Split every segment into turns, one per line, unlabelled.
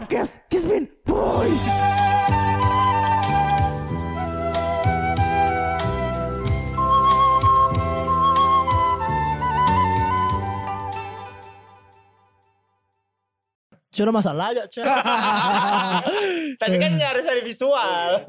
Kiss me, boys.
Cuma masalah agak cah.
Tadi kan nggak harus ada visual.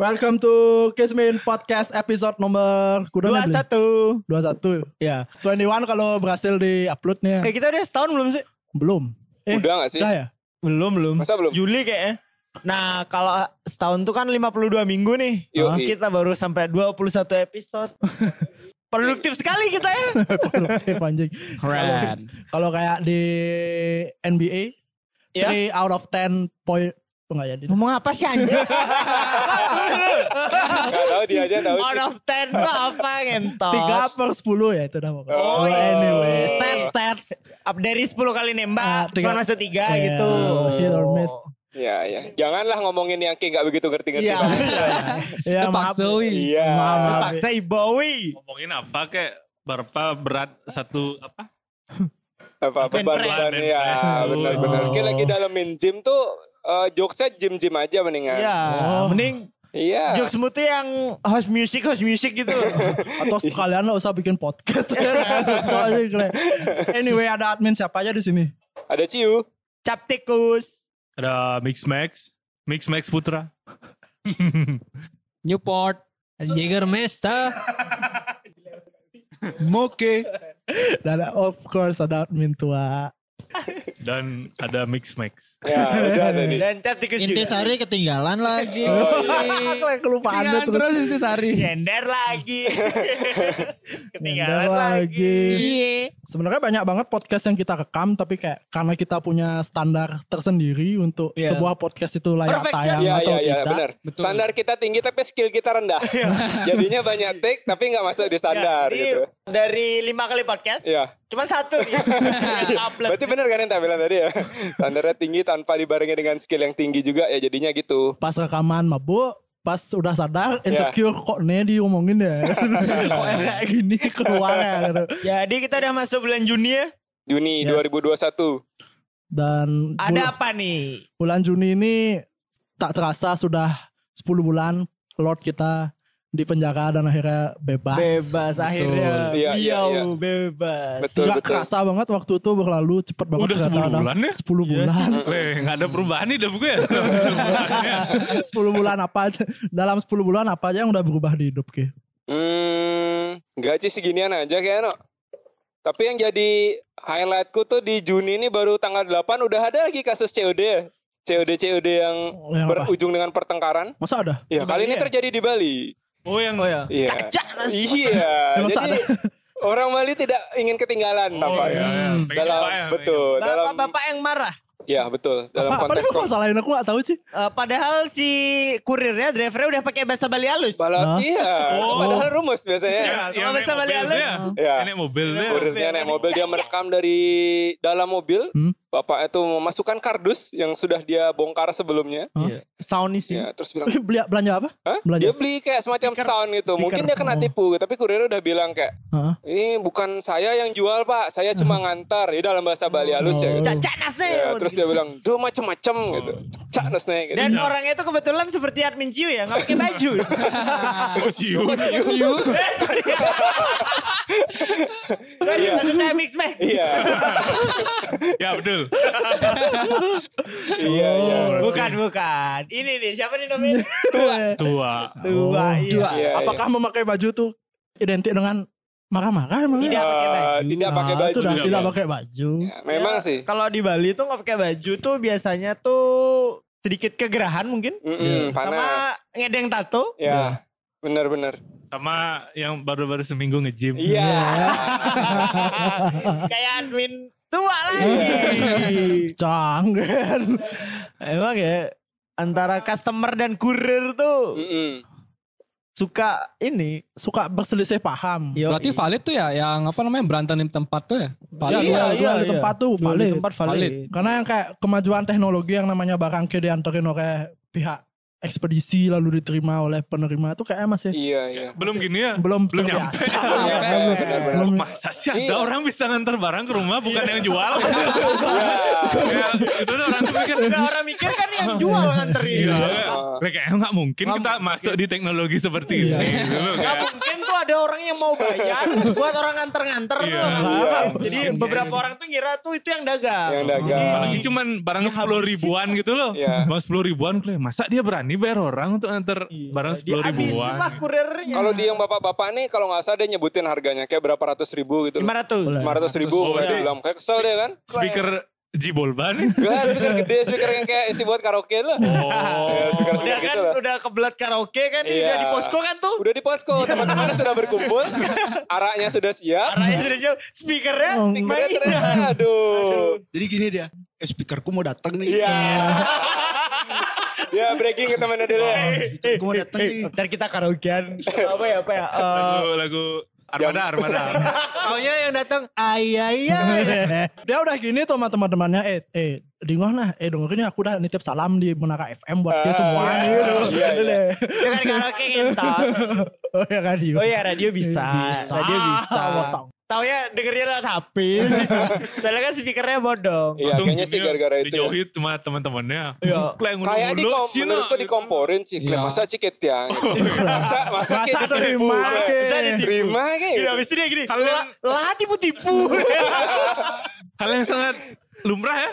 Welcome to Kiss Me in Podcast episode nomor kuda
Dua satu.
21 ya 21 kalau berhasil di uploadnya
Eh kita udah setahun belum sih?
belum Eh,
Udah gak sih?
udah ya Iya.
Belum belum.
Masa belum?
Juli kayaknya. Nah kalau setahun tuh kan 52 minggu nih.
Yoi.
Kita baru sampai 21 episode. Produktif sekali kita ya.
produktif anjing Keren. kalau kayak di NBA
Ya.
3 out of 10 point oh, enggak jadi
Ngomong apa sih anjing?
Gak tau dia aja tau
Out of 10 tuh apa ngentos?
3 per 10 ya itu dah pokoknya
Oh, iya.
anyway stats stats
Up dari 10 kali
Ah,
nembak,
tiga.
cuma masuk 3
Iya,
gitu.
hit or miss.
Iya iya Janganlah ngomongin yang kayak gak begitu ngerti-ngerti
Iya.
banget.
ya maaf
Paksawi.
Iya
Maaf.
Paksa Ibowi.
ngomongin apa kayak berapa berat satu apa
Apa
Ben
beban-beban
Press.
ya
Oh.
Benar-benar Kayak lagi dalemin gym tuh eh, Jokesnya gym-gym aja mendingan
Iya,
Oh.
mending
Iya
jokes mu tuh yang host music, host music gitu.
atau sekalian lo usah bikin podcast Itu aja keren. anyway ada admin siapa aja di sini
Ada Ciu
Cap tikus.
ada mix max mix max putra
Newport. Jaeger Mesta.
Moke.
dan of course ada admin tua
dan ada mix max
Ya udah tadi
Iya,
Dan cap tikus juga.
Intisari ketinggalan lagi.
iya.
Kalian kelupaan
ketinggalan
terus
terus Intisari.
Gender lagi.
Nyender
Ketinggalan lagi. Iya.
Sebenarnya banyak banget podcast yang kita rekam tapi kayak karena kita punya standar tersendiri untuk
Iya.
sebuah podcast itu layak
Perfection.
tayang
Iya
atau
iya iya
tidak.
benar. Standar kita tinggi tapi skill kita rendah. Jadinya banyak take tapi nggak masuk di standar
Jadi,
gitu.
Dari lima kali podcast,
Iya.
cuman satu nih. Upload.
Berarti benar kan yang tak bilang tadi ya. Standarnya tinggi tanpa dibarengi dengan skill yang tinggi juga ya jadinya gitu.
Pas rekaman mabuk, pas udah sadar insecure kok nih diomongin ya. kok kayak gini keluar ya gitu.
Jadi kita udah masuk bulan Juni ya.
Juni
Yes.
2021.
Dan
Ada
bul-
apa nih?
bulan Juni ini tak terasa sudah 10 bulan Lord kita di penjara dan akhirnya bebas.
Bebas akhirnya.
Iya, iya,
Beliau
iya.
bebas.
Betul
Gak
betul.
kerasa banget waktu itu berlalu cepet banget.
Udah
ternyata
10
ada
bulan ya?
10 bulan.
Weh, nggak ada perubahan nih ya? dah gue
ya?
10 bulan apa aja dalam 10 bulan apa aja yang udah berubah di hidup Ki?
Hmm, gaji seginian aja kayaknya. No. Tapi yang jadi highlightku tuh di Juni ini baru tanggal 8 udah ada lagi kasus COD ya. COD COD yang
Oh, Yang apa?
berujung dengan pertengkaran.
Masa ada?
Ya, kali ini
ya?
terjadi di Bali.
oh yang
Oh ya.
Iya.
Cacak langsung.
Iya.
Emang
Jadi orang Bali tidak ingin ketinggalan
Oh,
apa ya.
iya, iya. Pengen
Dalam
apa ya,
betul, dalam
Bapak-bapak yang marah.
ya betul, dalam
apa,
konteks
apa kok salahin aku gak tahu sih.
Eh, padahal si kurirnya, drivernya udah pakai bahasa Bali halus.
Hah?
balap iya.
Oh. Iya.
Padahal rumus biasanya.
yang,
Kalau
yang naik
bisa balik
mobil
halus.
dia
Iya.
yang naik mobil ya? dia
Kurirnya naik mobil dia merekam dari dalam mobil.
Hmm.
Bapak itu memasukkan kardus yang sudah dia bongkar sebelumnya.
Sound isi.
Ya, terus bilang
Beli belanja apa?
Hah?
Belanja.
Dia beli kayak semacam sound gitu. Mungkin dia
Oh.
kena tipu, tapi kurirnya udah bilang kayak
Heeh.
ini bukan saya yang jual pak, saya cuma ngantar. Ini dalam bahasa Bali halus ya. Gitu.
Cacak nasi.
Ya, terus dia bilang, "Duh macem-macem gitu. Cak nasnya gitu.
Dan orangnya itu kebetulan seperti admin Ciu ya, nggak pakai baju.
oh ciu
Eh, sorry. Sorry,
Iya.
maksud saya mix match.
Iya.
ya betul
Iya, iya.
Bukan, bukan. Ini nih, siapa nih namanya?
tua
Tua, iya.
Dua.
Iya,
Oh, Apakah memakai baju tuh identik dengan marah-marah emang?
iya.
Tidak pakai baju.
Eh, tidak pakai
Nah, itu
baju.
dah,
Tidak
tidak
pakai.
pakai baju.
Ya, memang sih.
Kalau di Bali tuh nggak pakai baju tuh biasanya tuh sedikit kegerahan mungkin.
Mm-mm,
Sama
panas.
ngedeng tato.
Ya. Benar-benar.
sama yang baru-baru seminggu nge-gym
Iya.
Kayak admin tua lagi.
Canggih.
Emang ya antara customer dan kurir tuh
Mm-mm.
suka ini.
Suka berselisih paham.
Yo,
Berarti valid tuh ya yang apa namanya berantem di tempat tuh ya? Valid.
Iya,
Iya,
iya,
iya, di
iya.
tempat tuh
valid.
valid.
Tempat valid.
Valid.
Karena yang kayak kemajuan teknologi yang namanya barang ke dianterin oleh pihak ekspedisi lalu diterima oleh penerima tuh kayaknya masih
Iya, iya.
Belum gini ya?
belum
Belum
terbiasa.
nyampe.
Belum nyampe,
Belum-
benar-benar.
belum-
Masa sih ada
Iya.
orang bisa nganter barang ke rumah bukan yang jual?
Iya.
ya, itu tuh orang tuh mikir,
Nggak, orang mikir kan yang jual nganterin.
Iya.
Oh.
Mereka kayaknya nggak mungkin kita masuk di teknologi seperti
Iya.
ini. Gitu,
Nggak
kayak,
mungkin tuh ada orang yang mau bayar buat orang nganter-nganter tuh.
Iya.
nggak
Iya.
paham. Jadi beberapa orang tuh ngira tuh itu yang dagang. Iya.
Yang dagang.
Apalagi cuman barang sepuluh ribuan gitu loh.
Iya.
Barang sepuluh ribuan, kayak, masa dia berani bayar orang untuk nganter barang sepuluh
Dihabisin lah
ribuan?
kurirnya.
Kalau di yang bapak-bapak nih kalau nggak salah dia nyebutin harganya kayak berapa ratus ribu gitu. loh.
500.
Lima ratus ribu kayak
Oh, berarti-
dia bilang kayak kesel dia kan.
Speaker Jibolba nih.
Gak speaker gede, speaker yang kayak isi buat karaoke lah. Ya,
Oh.
speaker
Udah
speaker
kan
gitu lah.
udah kebelat karaoke kan
Iya.
udah di posko kan tuh.
Udah di posko, teman-temannya sudah berkumpul, araknya sudah siap,
Arahnya sudah jauh. Speakernya
Oh, speakernya
main.
ternyata aduh.
Jadi gini dia, eh speakerku mau datang nih.
Iya. Ya breaking ke temannya dulu. ya.
Speakerku mau datang nih.
Eh, ntar kita karaokean apa ya apa ya eh,
Lagu, lagu Armada, Armada.
Maunya yang datang ay ay
Iya.
ay.
dia udah gini tuh sama teman-temannya eh eh di mana eh dengerin ya, aku udah nitip salam di Menara FM buat dia
Ah,
semua
iya,
gitu.
iya, iya.
Dengan karaoke ngentot.
Oh ya kan
Oh iya radio bisa.
Bisa.
Radio bisa.
Masa?
Tau ya dengernya lewat HP. Soalnya kan speakernya bodong.
Iya, kayaknya sih
dia
gara-gara itu. ya.
Dijauhi cuma teman-temannya.
Iya.
Kayak
Kayak
di
ngulung-ngulung, Cina. gitu.
menurutku dikomporin sih.
Iya.
Masa ciket ya. Masa masa
Masa
kita
terima, ke.
Masa diterima ke.
Gila, abis itu dia gini.
Kalian-
Lah, lah tipu-tipu.
Hal yang sangat lumrah ya.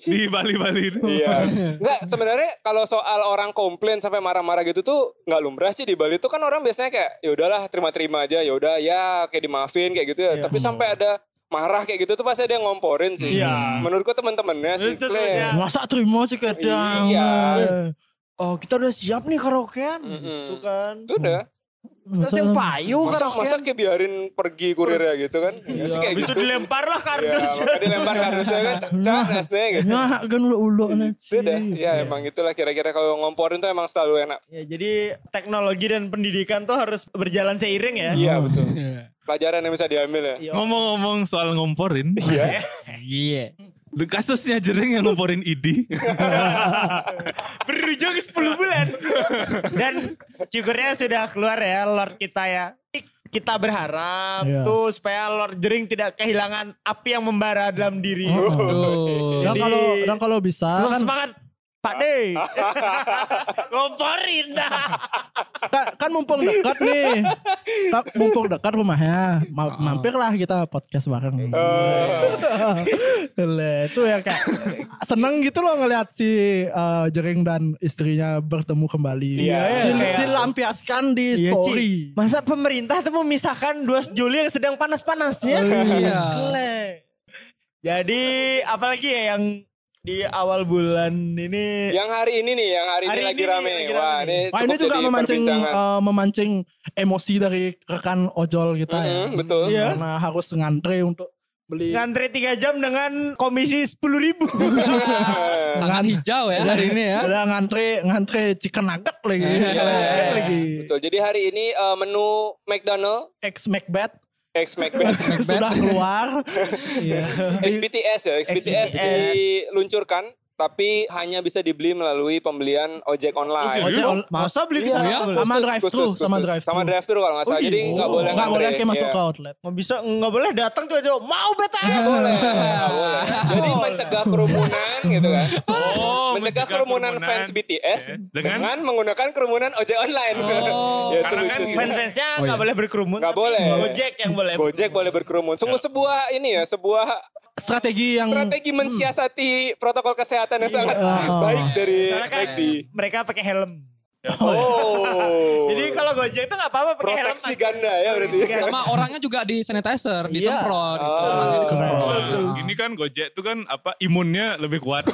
Di Bali-Bali ini.
Iya. Enggak, sebenarnya kalau soal orang komplain sampai marah-marah gitu tuh nggak lumrah sih di Bali tuh kan orang biasanya kayak ya udahlah terima-terima aja, ya udah ya kayak dimaafin kayak gitu ya.
Iya.
Tapi sampai ada marah kayak gitu tuh pasti ada yang ngomporin sih.
Iya.
Menurutku teman-temannya sih.
Itu tuh,
Clay.
ya.
masa terima sih kadang
Iya.
Oh kita udah siap nih karaokean.
Mm-mm.
Gitu kan.
Itu udah.
Terus yang payu
Masa
karaokean.
masa kayak biarin pergi kurirnya gitu kan. Iya sih kayak
Abis
gitu.
itu dilempar lah
Iya,
kardus.
makanya dilempar kardusnya kan cak-cak nasnya gitu.
Nah, kan udah ulu
Itu udah.
Iya.
Ya emang itulah kira-kira kalau ngomporin tuh emang selalu enak.
Ya, jadi teknologi dan pendidikan tuh harus berjalan seiring ya.
Iya betul.
Iya.
Pelajaran yang bisa diambil ya.
Iya.
Ngomong-ngomong soal ngomporin.
Iya.
Iya.
Kasusnya jering yang ngomporin ID.
berujung 10 bulan. Dan syukurnya sudah keluar ya Lord kita ya. Kita berharap
Iya.
tuh supaya Lord Jering tidak kehilangan api yang membara dalam diri.
Aduh.
Dan
Jadi-
kalau dan kalau bisa
Tetap
Oh, kan,
semangat Pak De. Ngomporin dah.
ka- kan mumpung dekat nih. Ka- mumpung dekat rumahnya,
Ah.
ma- mampirlah kita podcast bareng.
Oh.
Lele, itu ya kayak seneng gitu loh ngelihat si eh, Jering dan istrinya bertemu kembali.
Iya,
Dil-
iya.
Dilampiaskan di
Iya, Ci.
story.
Masa pemerintah tuh memisahkan dua Juli yang sedang panas-panasnya?
Oh,
Iya.
Gile. Jadi apalagi ya yang di awal bulan ini
Yang hari ini nih, yang hari,
Hari
ini lagi
ini nih,
rame.
lagi rame
Wah, ini,
Wah ini
cukup
juga
jadi
memancing
perbincangan.
eh, memancing emosi dari rekan ojol kita ya.
Mm-mm, betul.
Iya.
Karena harus ngantri untuk beli
ngantri 3 jam dengan komisi 10.000 ribu.
Sangat hijau ya hari ini ya.
udah ngantri ngantri chicken nugget lagi.
Iya.
Nugget lagi.
Betul. Jadi hari ini eh, menu McDonald
Ex Macbeth
X Macbeth
sudah keluar. Iya.
XBTS ya, XBTS diluncurkan tapi hanya bisa dibeli melalui pembelian ojek online.
serius?
Ojek on-
Masa beli
Iya.
kesana
Iya.
nggak boleh?
sama
Khusus,
drive thru,
khusus,
sama
khusus.
drive thru.
Sama drive thru kalau nggak salah.
Oh,
Jadi
iya.
nggak boleh
Nggak boleh
ngantri.
kayak masuk
Iya.
ke outlet.
Nggak bisa, nggak boleh datang tuh aja. Mau
Nggak
BTS.
boleh. Nggak boleh. Jadi mencegah kerumunan gitu kan.
Oh,
mencegah kerumunan fans BTS
Yes.
dengan,
Dengan?
menggunakan kerumunan ojek online.
Oh.
Ya, itu
Karena kan
lucu sih.
Fans-fansnya
Oh,
nggak
iya.
boleh berkerumun.
Nggak
tapi
boleh.
Gojek yang boleh.
Gojek boleh berkerumun. Sungguh sebuah ini ya, sebuah
Hmm. Strategi yang
strategi mensiasati protokol kesehatan yang sangat
Oh.
baik dari
Soalnya kan
McD.
mereka pakai helm.
Oh.
Jadi kalau Gojek tuh nggak apa-apa pakai helm.
proteksi ganda ya berarti.
Sama orangnya juga di sanitizer, disemprot gitu.
Oh.
Orangnya
Iya.
disemprot.
Nah, Ini kan Gojek tuh kan apa imunnya lebih kuat.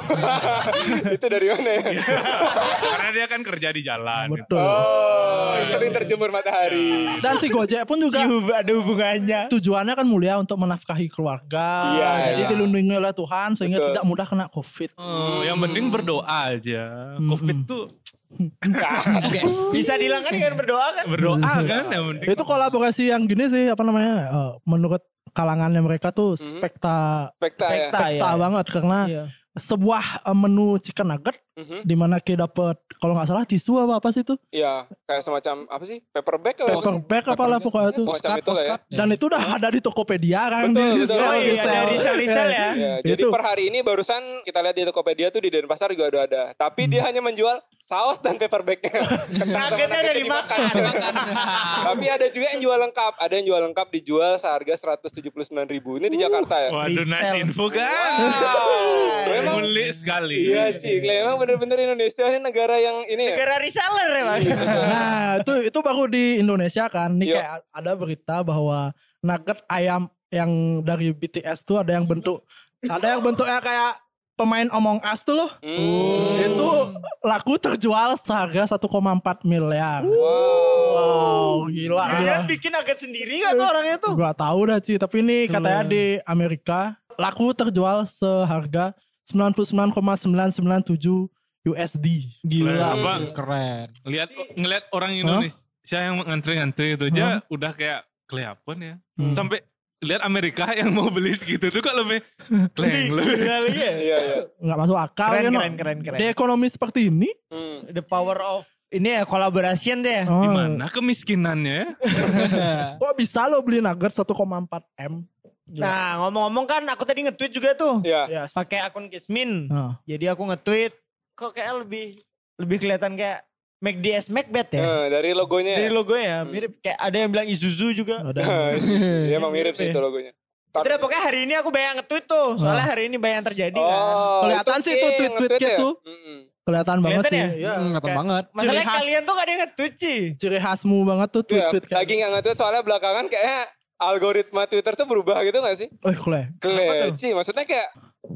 Itu dari mana ya?
Karena dia kan kerja di jalan. gitu.
betul.
Oh, sering terjemur matahari.
Dan si Gojek pun juga
Si Iya, hub- ada hubungannya.
tujuannya kan mulia untuk menafkahi keluarga.
Iya,
jadi
iya.
dilindungi oleh Tuhan sehingga
Betul.
tidak mudah kena COVID.
Oh, yang penting berdoa aja. Covid tuh
Sugesti.
Bisa dihilangkan dengan berdoa kan?
berdoa kan yang penting.
Itu kolaborasi yang gini sih apa namanya? eh, menurut kalangannya mereka tuh spekta
Spekta.
Spekta ya.
Ah, iya,
spekta
iya.
banget karena
Iya.
sebuah eh, menu chicken nugget
Mhm.
di mana kayak dapat kalau nggak salah tisu apa apa sih itu
Iya, kayak semacam apa sih? Paperback atau
paper bag apa lah pokoknya itu
Semacam
Postcard,
itu lah ya.
postcard.
dan itu udah ada di Tokopedia kan
Betul,
di
betul.
resell,
Oh, iya,
resell.
ada
resell-resell ya.
Iya, jadi
Itu.
per hari ini barusan kita lihat di Tokopedia tuh di Denpasar juga ada ada. Tapi dia hanya menjual saus dan paperbacknya.
Nuggetnya udah dimakan.
Tapi ada juga yang jual lengkap. Ada yang jual lengkap dijual seharga 179.000 Ini di Jakarta ya.
Waduh, nice
Resell.
info kan.
Wow. Memang
Mulik sekali.
Iya Cik, memang bener-bener Indonesia ini negara yang ini ya.
Gara reseller ya bang.
nah itu itu baru di Indonesia kan nih
Iya.
kayak ada berita bahwa nugget ayam yang dari BTS tuh ada yang bentuk ada yang bentuknya kayak pemain omong as tuh loh
Hmm.
itu laku terjual seharga 1,4 miliar wow gila gila
Kalian kan bikin nugget sendiri gak tuh orangnya tuh?
Gua tahu dah Ci, tapi
Iya.
ini katanya di Amerika laku terjual seharga 99,997 USD.
Lah,
Gila.
Nah, Bang,
Keren.
lihat ngelihat orang Indonesia yang ngantri-ngantri itu aja udah kayak kelihatan ya.
Hmm.
Sampai lihat Amerika yang mau beli segitu tuh kok lebih kleng lebih.
Gila iya.
Iya, iya.
Nggak masuk akal
Keren
ya, no.
keren keren keren.
Di ekonomi seperti ini,
Hmm.
The power of ini ya collaboration deh.
oh,
Gimana kemiskinannya ya?
kok bisa lo beli nugget 1,4 M?
Nah ngomong-ngomong kan aku tadi nge-tweet juga tuh.
Iya.
Yes.
Pakai akun Kismin.
Nah,
Jadi aku nge-tweet. Kok kayak lebih lebih kelihatan kayak McDS Macbeth ya.
Eh, dari logonya.
Dari
ya?
logonya
Hmm.
mirip kayak ada yang bilang Isuzu juga.
ada.
Hmm,
Iya, emang mirip sih itu logonya.
Itu deh, pokoknya hari ini aku banyak nge-tweet tuh. Soalnya
Ah.
hari ini banyak yang terjadi kan.
Oh,
Kelihatan
itu
sih tuh
King
tweet-tweet
nge-tweet
gitu.
ya? Mm-mm.
Kelihatan banget
Kelihatan
sih.
ya?
Iya.
Hmm, kelihatan
kayak-
banget.
Masalahnya
Ciri khas.
kalian tuh gak ada yang nge-tweet sih.
Ciri khasmu banget tuh
Iya,
tweet-tweet kan.
Lagi nggak nge-tweet soalnya belakangan kayaknya algoritma Twitter tuh berubah gitu gak sih?
Eh, kule.
Keleci, maksudnya kayak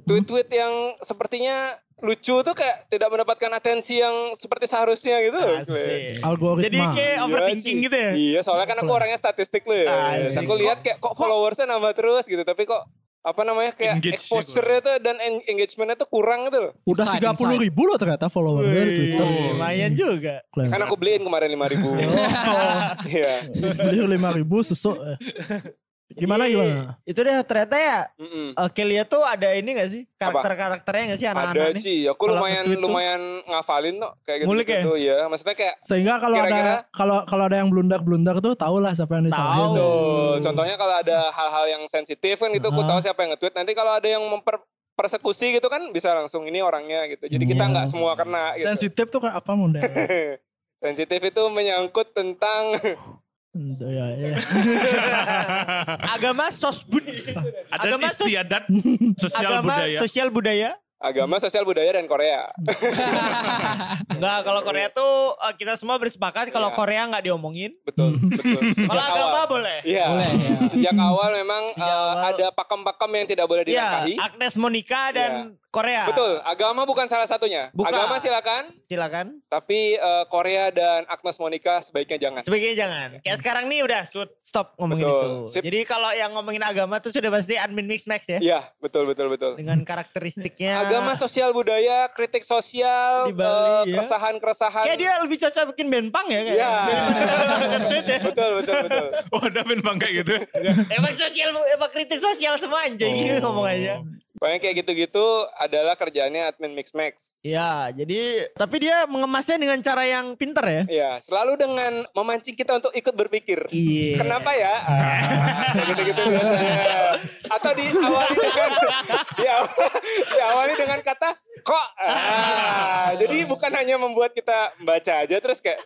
tweet-tweet yang sepertinya lucu tuh kayak tidak mendapatkan atensi yang seperti seharusnya gitu loh. Kle.
Asik. Jadi
Algoritma.
kayak
Iya,
overthinking
Ci.
gitu ya.
Iya, soalnya kan aku orangnya statistik loh ya.
Asik.
Aku lihat kayak kok followersnya nambah terus gitu, tapi kok apa namanya kayak
Engage sih
exposure-nya tuh dan en- engagement-nya tuh kurang gitu loh.
Udah
Insight,
30 ribu lo ternyata followernya di Twitter.
Wih, Lumayan
Hmm.
juga.
Kule.
Kan aku beliin kemarin 5 ribu.
Oh.
Iya.
beli lima ribu susu eh. gimana
Jadi,
gimana
Itu deh ternyata ya
Mm-mm.
eh, Kelia tuh ada ini gak sih? Karakter-karakternya gak sih anak-anak
Ada
kan nih?
sih, ya aku
Kalau
lumayan
nge-tweet tuh.
lumayan ngafalin kok kayak gitu.
Ngulik ya?
gitu, ya. Maksudnya kayak
sehingga kalau ada
Kira-kira-
kalau kalau ada yang blunder blunder tuh tahulah siapa yang disalahin
Tahu.
Tuh, contohnya kalau ada hal-hal yang sensitif kan gitu, aku
Ah.
tahu siapa yang nge-tweet. Nanti kalau ada yang mempersekusi gitu kan bisa langsung ini orangnya gitu. Jadi kita
Iya.
nggak semua kena gitu.
sensitif tuh kayak apa bunda
Sensitif itu menyangkut tentang
Hmm, ya, ya.
Agama sosbud.
Adat
Agama sos-
istiadat sosial
agama
budaya.
sosial budaya.
agama, sosial budaya dan Korea.
Enggak, kalau Korea tuh eh, kita semua bersepakat kalau
Iya.
Korea nggak diomongin.
Betul, betul. Sejak
Kalau Hmm. agama
awal.
boleh. Hmm.
Iya.
Boleh, ya.
Sejak awal memang
Sejak
eh,
awal.
ada pakem-pakem yang tidak boleh
Iya,
dinikahi. Iya.
Agnes Monica dan Korea.
Betul, agama bukan salah satunya.
Bukan.
Agama silakan,
Silakan.
tapi eh, Korea dan Agnes Monica sebaiknya jangan.
Sebagai jangan. Kayak sekarang nih udah shoot, stop ngomongin
Betul.
itu.
Sip.
Jadi kalau yang ngomongin agama tuh sudah pasti admin mix max ya.
Iya, betul betul betul.
Dengan karakteristiknya.
agama sosial budaya kritik sosial
Di Bali, ya.
eh, keresahan keresahan
Kayak dia lebih cocok bikin band punk ya
ya
kayak. ya.
betul betul betul
Oh, ada pin bang kayak gitu.
Iya.
emang sosial, emang kritik sosial semua anjing gitu ngomong aja.
pokoknya kayak gitu-gitu adalah kerjaannya admin mix max
Ya, jadi tapi dia mengemasnya dengan cara yang pinter ya.
ya selalu dengan memancing kita untuk ikut berpikir
Iya.
Kenapa ya? Ah, kayak gitu-gitu biasanya. Atau diawali dengan diaw- diawali dengan kata kok. Ah, jadi bukan hanya membuat kita membaca aja terus kayak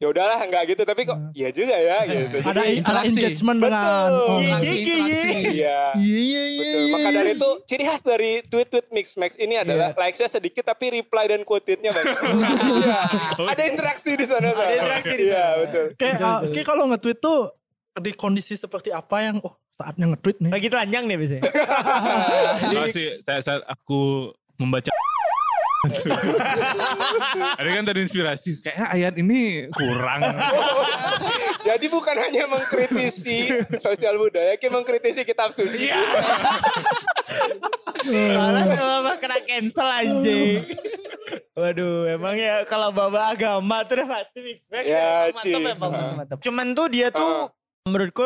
ya udahlah nggak gitu tapi kok iya juga ya gitu. Jadi,
ada ada
interaksi.
engagement dengan
Betul.
orang.
Interaksi,
Gigi,
interaksi.
iya.
Iya, iya, iya, iya,
Betul. Maka
iya.
dari itu ciri khas dari tweet-tweet Mix Max ini adalah
Iya.
likes-nya sedikit tapi reply dan quote-nya banyak. Iya. Ada interaksi di sana. Ada
interaksi di
Iya,
sana.
betul.
kayak uh, kayak kalau nge-tweet tuh di kondisi seperti apa yang oh saatnya nge-tweet nih
Lagi telanjang deh biasanya.
Oh, sih, saya saat aku membaca ada kan terinspirasi kayaknya ayat ini kurang
Gitu Jadi bukan hanya mengkritisi sosial budaya, kayak mengkritisi kitab suci.
Malah kalau mah kena cancel anjing. Waduh, emang ya kalau baba agama tuh udah pasti mix max.
Ya,
mantap
Ci.
ya, Bang, mantap, mantap. Cuman tuh dia tuh menurutku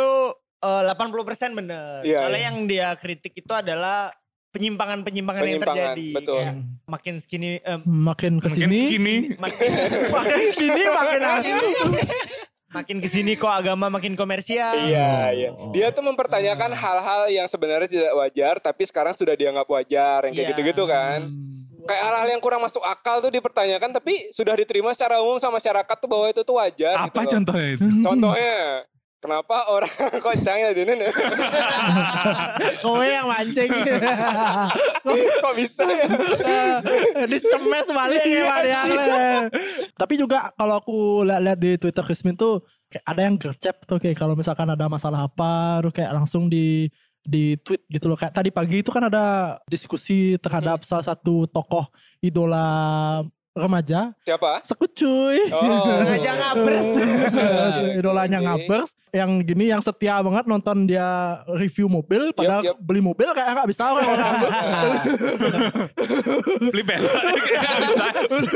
eh, 80% bener.
Iya,
Soalnya
iya.
yang dia kritik itu adalah penyimpangan-penyimpangan yang
Penyimpangan,
terjadi.
betul.
Kayak makin skinny, eh,
Makin
Mungkin
kesini
skinny.
makin, makin skinny, makin makin kesini kok agama makin komersial.
Iya, iya. Dia tuh mempertanyakan hal-hal yang sebenarnya tidak wajar, tapi sekarang sudah dianggap wajar, yang kayak
Iya.
gitu-gitu kan. Kayak hal-hal yang kurang masuk akal tuh dipertanyakan, tapi sudah diterima secara umum sama masyarakat tuh bahwa itu tuh wajar. gitu
Apa
loh.
contohnya itu?
Contohnya, kenapa orang ya, kocangnya di ini?
Kowe yang Oh, iya, mancing
Kok bisa ya?
Dicemes balik ya Marian, le. Tapi juga kalau aku lihat-lihat di Twitter Krismin tuh kayak ada yang gercep tuh kayak kalau misalkan ada masalah apa terus kayak langsung di di tweet gitu loh kayak tadi pagi itu kan ada diskusi terhadap salah satu tokoh idola remaja
Siapa?
sekucuy
Oh.
Sengaja ngabers.
Eh, Iya, idolanya
Oke.
ngabers yang gini yang setia banget nonton dia review mobil padahal
Yap, yap.
beli mobil kayak nggak bisa orang
Beli bela. Nggak bisa.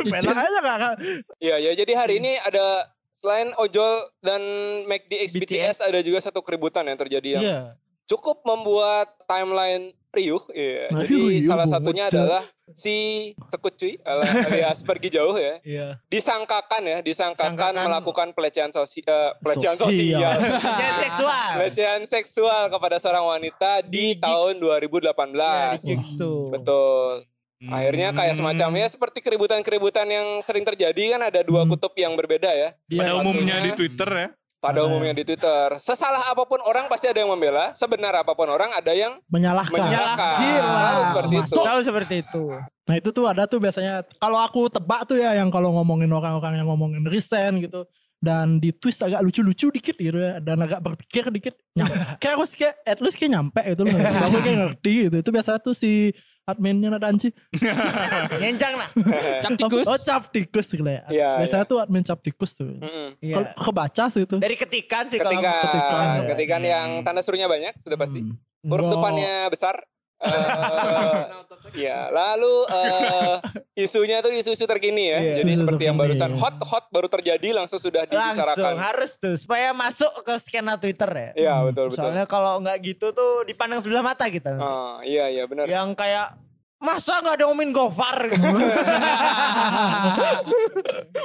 Pelak aja nggak nggak.
Iya, ya. Jadi hari ini ada selain ojol dan McD X BTS, ada juga satu keributan yang terjadi yang
Iya.
cukup membuat timeline riuh. Iya.
Nah,
Jadi
riuh,
salah
bocah.
satunya adalah si Tekucuy alias pergi jauh ya.
Iya.
Disangkakan ya, disangkakan
Sangkakan.
melakukan pelecehan sosial pelecehan
Sosial.
sosial.
Ya seksual.
pelecehan seksual kepada seorang wanita di,
Di gigs.
tahun
Ya, di
2018.
gigs tuh.
Betul. Akhirnya kayak
Hmm.
semacam ya seperti keributan-keributan yang sering terjadi kan ada dua
Hmm.
kutub yang berbeda ya.
Hmm. Pada
Iya.
umumnya di Twitter ya.
Pada
Ada.
umumnya di Twitter, sesalah apapun orang pasti ada yang membela, sebenar apapun orang ada yang
menyalahkan.
menyalahkan.
Gila.
Selalu seperti itu.
Nah, Masuk.
Tahu seperti itu.
Nah itu tuh ada tuh biasanya kalau aku tebak tuh ya yang kalau ngomongin orang-orang yang ngomongin resign gitu dan di twist agak lucu-lucu dikit gitu ya dan agak berpikir dikit nyampe. kayak harus kayak at least kayak nyampe gitu loh aku kayak ngerti gitu itu biasanya tuh si adminnya ada anci
Nyencang lah.
Cap tikus.
oh cap tikus gitu ya
Iya,
biasanya tuh admin cap tikus tuh
Mm-mm.
Iya.
Kalau kebaca sih itu
Dari ketikan sih kalau
Ketikan,
Iya. ketikan,
ketikan,
ya.
yang tanda suruhnya banyak sudah pasti.
Hmm.
Huruf
Wow.
depannya besar. Eh, ya, lalu eh, isunya tuh isu-isu terkini ya.
Iya,
Jadi
isu
seperti yang
terkini.
barusan hot-hot baru terjadi langsung sudah
langsung
dibicarakan.
harus tuh supaya masuk ke skena Twitter ya.
Iya, betul betul.
Soalnya kalau nggak gitu tuh dipandang sebelah mata kita. nanti.
Ah, iya iya benar.
Yang kayak masa nggak ada ngomongin Gofar gitu.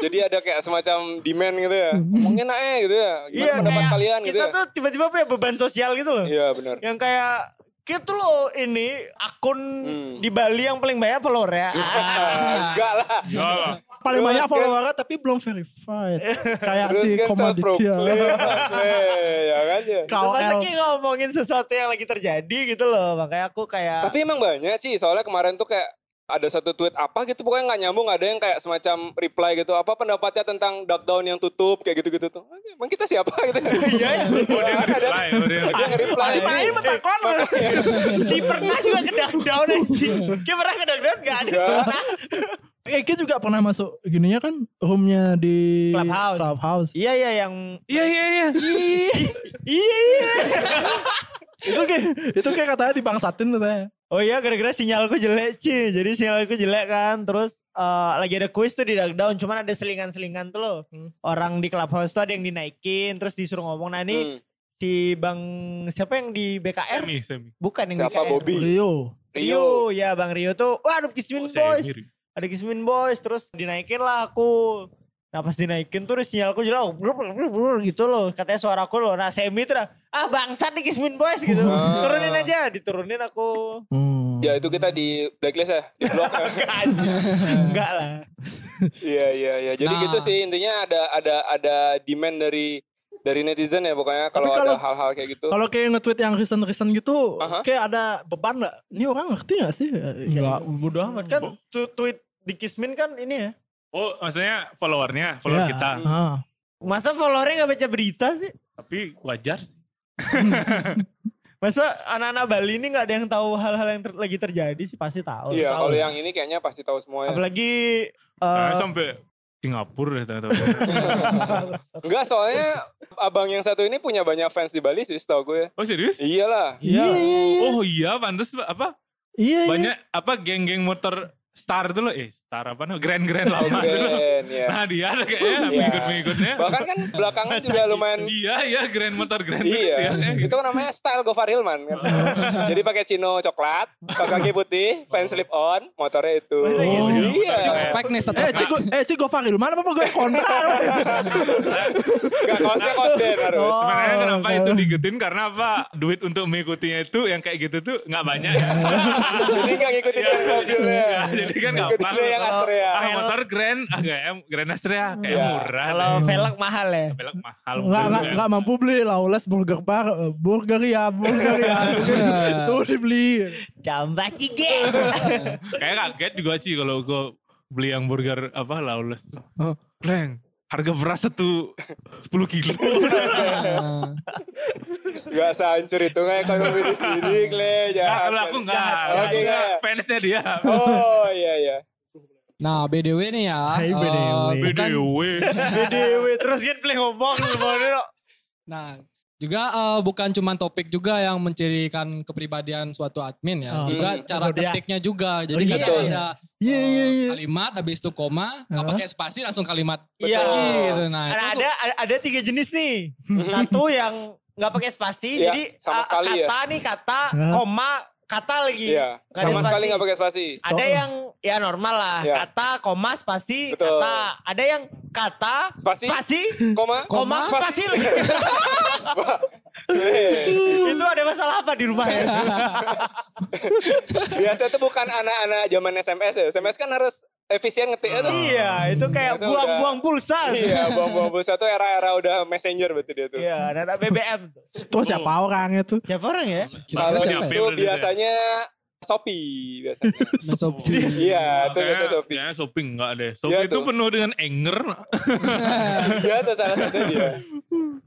Jadi ada kayak semacam demand gitu ya. Ngomongin aja gitu ya. Gimana
Mm-hmm. Iya
pendapat
kayak
kalian gitu
kita
ya.
tuh tiba-tiba punya beban sosial gitu loh.
Iya benar.
Yang kayak gitu loh ini akun
Hmm.
di Bali yang paling banyak follower ya.
Ah, Enggak lah.
Ya lah.
paling
Terus
banyak
kan-
followernya tapi belum verified kayak
Terus
si
kan self
komoditia
proclaim, ya kan ya.
Masa
KOL
kayak ngomongin sesuatu yang lagi terjadi gitu loh. Makanya aku kayak
Tapi emang banyak sih, soalnya kemarin tuh kayak ada satu tweet apa gitu pokoknya nggak nyambung ada yang kayak semacam reply gitu apa pendapatnya tentang down yang tutup kayak gitu gitu tuh emang kita siapa gitu iya
Oh dia nge-reply. Oh dia
dia
nge-reply.
nge-reply
Tadi
Eh,
mentakon Si pernah juga ke down anjing. Dia pernah ke down gak ada.
Nggak.
Pernah.
Eki juga pernah masuk gininya kan roomnya di
Clubhouse.
Clubhouse.
Iya iya yang
Iya iya iya.
iya iya.
itu kayak itu kayak katanya dibangsatin katanya.
Oh iya gara-gara sinyalku jelek Ci. Jadi sinyalku jelek kan. Terus eh, lagi ada kuis tuh di down. Cuman ada selingan-selingan tuh loh.
Hmm.
Orang di clubhouse tuh ada yang dinaikin. Terus disuruh ngomong. Nah ini
Hmm,
si Bang siapa yang di BKR?
Semi semi.
Bukan yang
siapa
BKR.
Bobby
Rio.
Rio
Rio. Ya Bang Rio tuh. Wah ada Kismin
Oh,
Boys.
semi.
ada Kismin Boys terus dinaikin lah aku nah pas dinaikin tuh sinyalku Oh, jelas brr, brr, brr, brr, gitu loh katanya suaraku loh nah semi tuh dah, ah bangsat nih Kismin Boys gitu
Ah.
turunin aja diturunin aku
Hmm.
ya itu kita di blacklist ya di blok ya
enggak anjing. enggak lah
Iya iya iya. Jadi
Nah.
gitu sih intinya ada ada ada demand dari dari netizen ya pokoknya
Tapi
kalau ada
kalau-
hal-hal kayak gitu.
Kalau kayak nge-tweet yang recent-recent gitu,
Aha.
kayak ada beban nggak? Ini orang ngerti gak sih? Iya.
enggak bodo amat kan tu- tweet di Kismin kan ini ya
Oh maksudnya followernya, follower
Iya.
kita.
Ah.
masa followernya gak baca berita sih
Tapi wajar sih.
Eh.
masa anak-anak Bali ini gak ada yang tahu hal-hal yang ter- lagi terjadi sih pasti tahu
Iya
Tahu. ya.
kalau yang ini kayaknya pasti tahu semua ya.
apalagi eh,
Nah, sampai Singapura deh tahu-tahu.
Enggak soalnya abang yang satu ini punya banyak fans di Bali sih setahu gue.
Oh serius?
Iyalah.
Iya.
Oh iya pantas apa
Iya. iya.
banyak apa geng-geng motor star dulu eh star apa nih grand grand lama dulu
Grand, ya.
nah dia ada kayaknya
Iya.
mengikut mengikutnya
Bahkan kan belakangan juga lumayan
iya iya grand motor grand
Iya,
Iya, iya,
itu kan namanya style Gofar Hilman kan. Jadi pakai chino coklat, kaos kaki putih, fan slip on, motornya itu.
Masa gitu?
iya.
Pack nih satu
Eh, Ciko, eh, Ciko Faril, mana apa gue kontrak?
Enggak kaosnya kaos den harus.
Sebenarnya kenapa itu diikutin karena apa? Duit untuk mengikutinya itu yang kayak gitu tuh nggak banyak.
Jadi enggak ngikutin yang mobilnya.
Nah, Iya, Jadi kan gampang.
Ngikutinnya yang Astrea.
Ah motor Grand, ah nggak em Grand Astrea kayak
Iya.
murah.
Kalau
deh.
velg mahal ya.
Velg mahal.
Enggak, enggak,
Iya.
mungkin.
enggak mampu beli Lawless Burger Bar, eh, burger ya, burger ya.
Iya.
Itu dibeli.
Jambah cige.
Kayak kaget juga sih kalau gue beli yang burger apa lawless.
Oh.
Leng, harga beras satu 10 kilo.
Eh.
Enggak sehancur itu enggak ekonomi di sini, Kle.
Nah,
Jahat.
kalau aku enggak.
Oke, enggak.
Fansnya dia.
Oh, iya iya.
Nah, BDW nih ya.
Hai,
eh,
BDW.
bukan-
BDW.
Dewi terus kan pilih ngomong semuanya.
Nah, juga eh, bukan cuma topik juga yang mencirikan kepribadian suatu admin ya.
Oh.
juga
Hmm,
cara
zodiak.
ketiknya juga. Jadi
Oh, iya.
kadang ada
Iya,
eh,
iya, Ah. iya.
kalimat habis itu koma, nggak
Hah?
pakai spasi langsung kalimat
Iya.
lagi gitu. Nah,
Ada,
itu
ada ada tiga jenis nih. Satu yang nggak pakai spasi,
Mm-hmm. Iya,
jadi
sama
a-
sekali ya.
kata nih kata,
Hah?
koma, kata lagi.
Iya,
Nggak ada
sama
spasi.
sekali enggak pakai spasi.
Ada yang ya normal lah,
Iya.
kata, koma, spasi,
Betul.
kata. Ada yang kata,
Spasi.
spasi,
Koma,
koma, spasi lagi.
Kle.
Itu ada masalah apa di rumah
Iya.
ya?
Biasa itu bukan anak-anak zaman SMS ya. SMS kan harus efisien ngetiknya tuh.
iya, itu kayak
Itu
buang-buang pulsa.
Iya, buang-buang pulsa tuh era-era udah messenger berarti dia tuh.
Iya, dan ada BBM. Oh.
Terus siapa orangnya tuh?
Siapa orang ya?
kira-kira
Kalau
siapa
di-
ya?
itu biasanya Shopee biasanya.
Nah, so-
Iya, itu biasanya
Kayaknya-
Shopee.
Kayaknya shopping enggak deh. Shopee itu
tuh.
penuh dengan anger.
Iya, itu salah satu dia.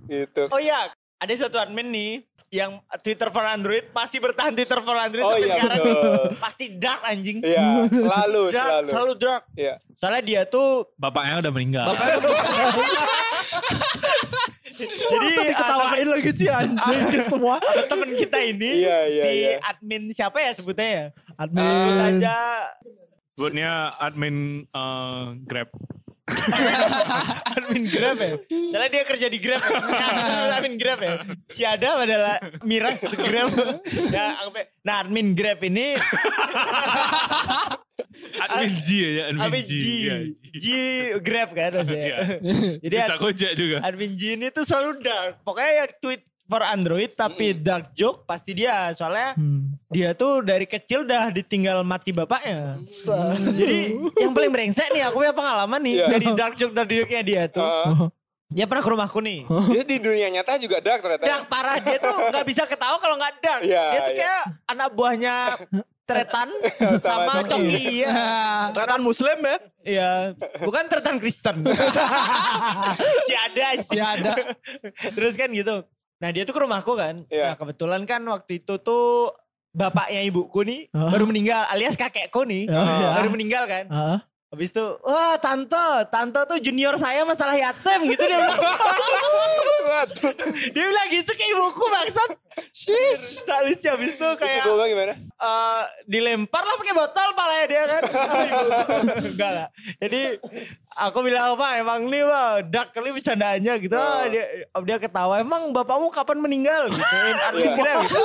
Gitu.
Oh iya, ada satu admin nih yang Twitter for Android pasti bertahan Twitter for Android
Oh
sampai
iya,
sekarang.
betul.
Pasti dark anjing.
Iya, selalu,
dark, Ya, selalu.
selalu.
dark.
Iya.
Soalnya dia tuh
Bapaknya udah meninggal.
jadi
Masa diketawain lagi sih anjing semua.
ah, temen kita ini
Iya, iya,
si
iya.
admin siapa ya sebutnya ya? Sebut
Admin.
aja
Sebutnya admin eh, Grab.
admin Grab ya. Soalnya dia kerja di Grab. Ya. Nah, admin Grab ya. Si Adam adalah miras di Grab. Ya, anggapnya- nah, admin Grab ini
Admin G ya, admin,
admin G,
Iya,
G Grab kan
Iya.
maksudnya. Jadi
Bisa Gojek juga.
Admin Jin itu selalu dark. Pokoknya ya tweet for Android tapi dark joke pasti dia. Soalnya
Hmm.
dia tuh dari kecil udah ditinggal mati bapaknya. Jadi yang paling brengsek nih aku punya pengalaman nih
Hmm. Iya. Ah.
dari dark joke dark joke-nya dia tuh.
Heeh.
Dia pernah ke rumahku nih.
Jadi di dunia nyata juga dark ternyata.
Dark parah dia tuh nggak bisa ketawa kalau nggak dark.
Iya,
dia tuh
iya.
kayak anak buahnya Tretan
Sama
sama
Coki.
Coki. Iya.
Ternyata muslim ya.
Iya. Bukan Tretan Kristen. si ada
Si ada.
Terus kan gitu. Nah dia tuh ke rumahku kan.
Iya.
Nah kebetulan kan waktu itu tuh bapaknya ibuku nih
Oh.
baru meninggal alias kakekku nih.
Oh, iya.
Baru meninggal kan.
Heeh.
Habis itu, wah tante, tante tuh junior saya masalah yatim gitu dia bilang.
Waduh.
dia bilang gitu ke ibuku maksud. Shish. Habis itu
Terus
kayak
ibu gua gimana?
eh, dilempar lah pakai botol palanya dia kan. Sama ibuku. Enggak lah. Jadi aku bilang apa emang nih wah dark kali bercandaannya gitu. Ah, Dia, dia ketawa emang bapakmu kapan meninggal gitu. Artis
Iya.
kita gitu.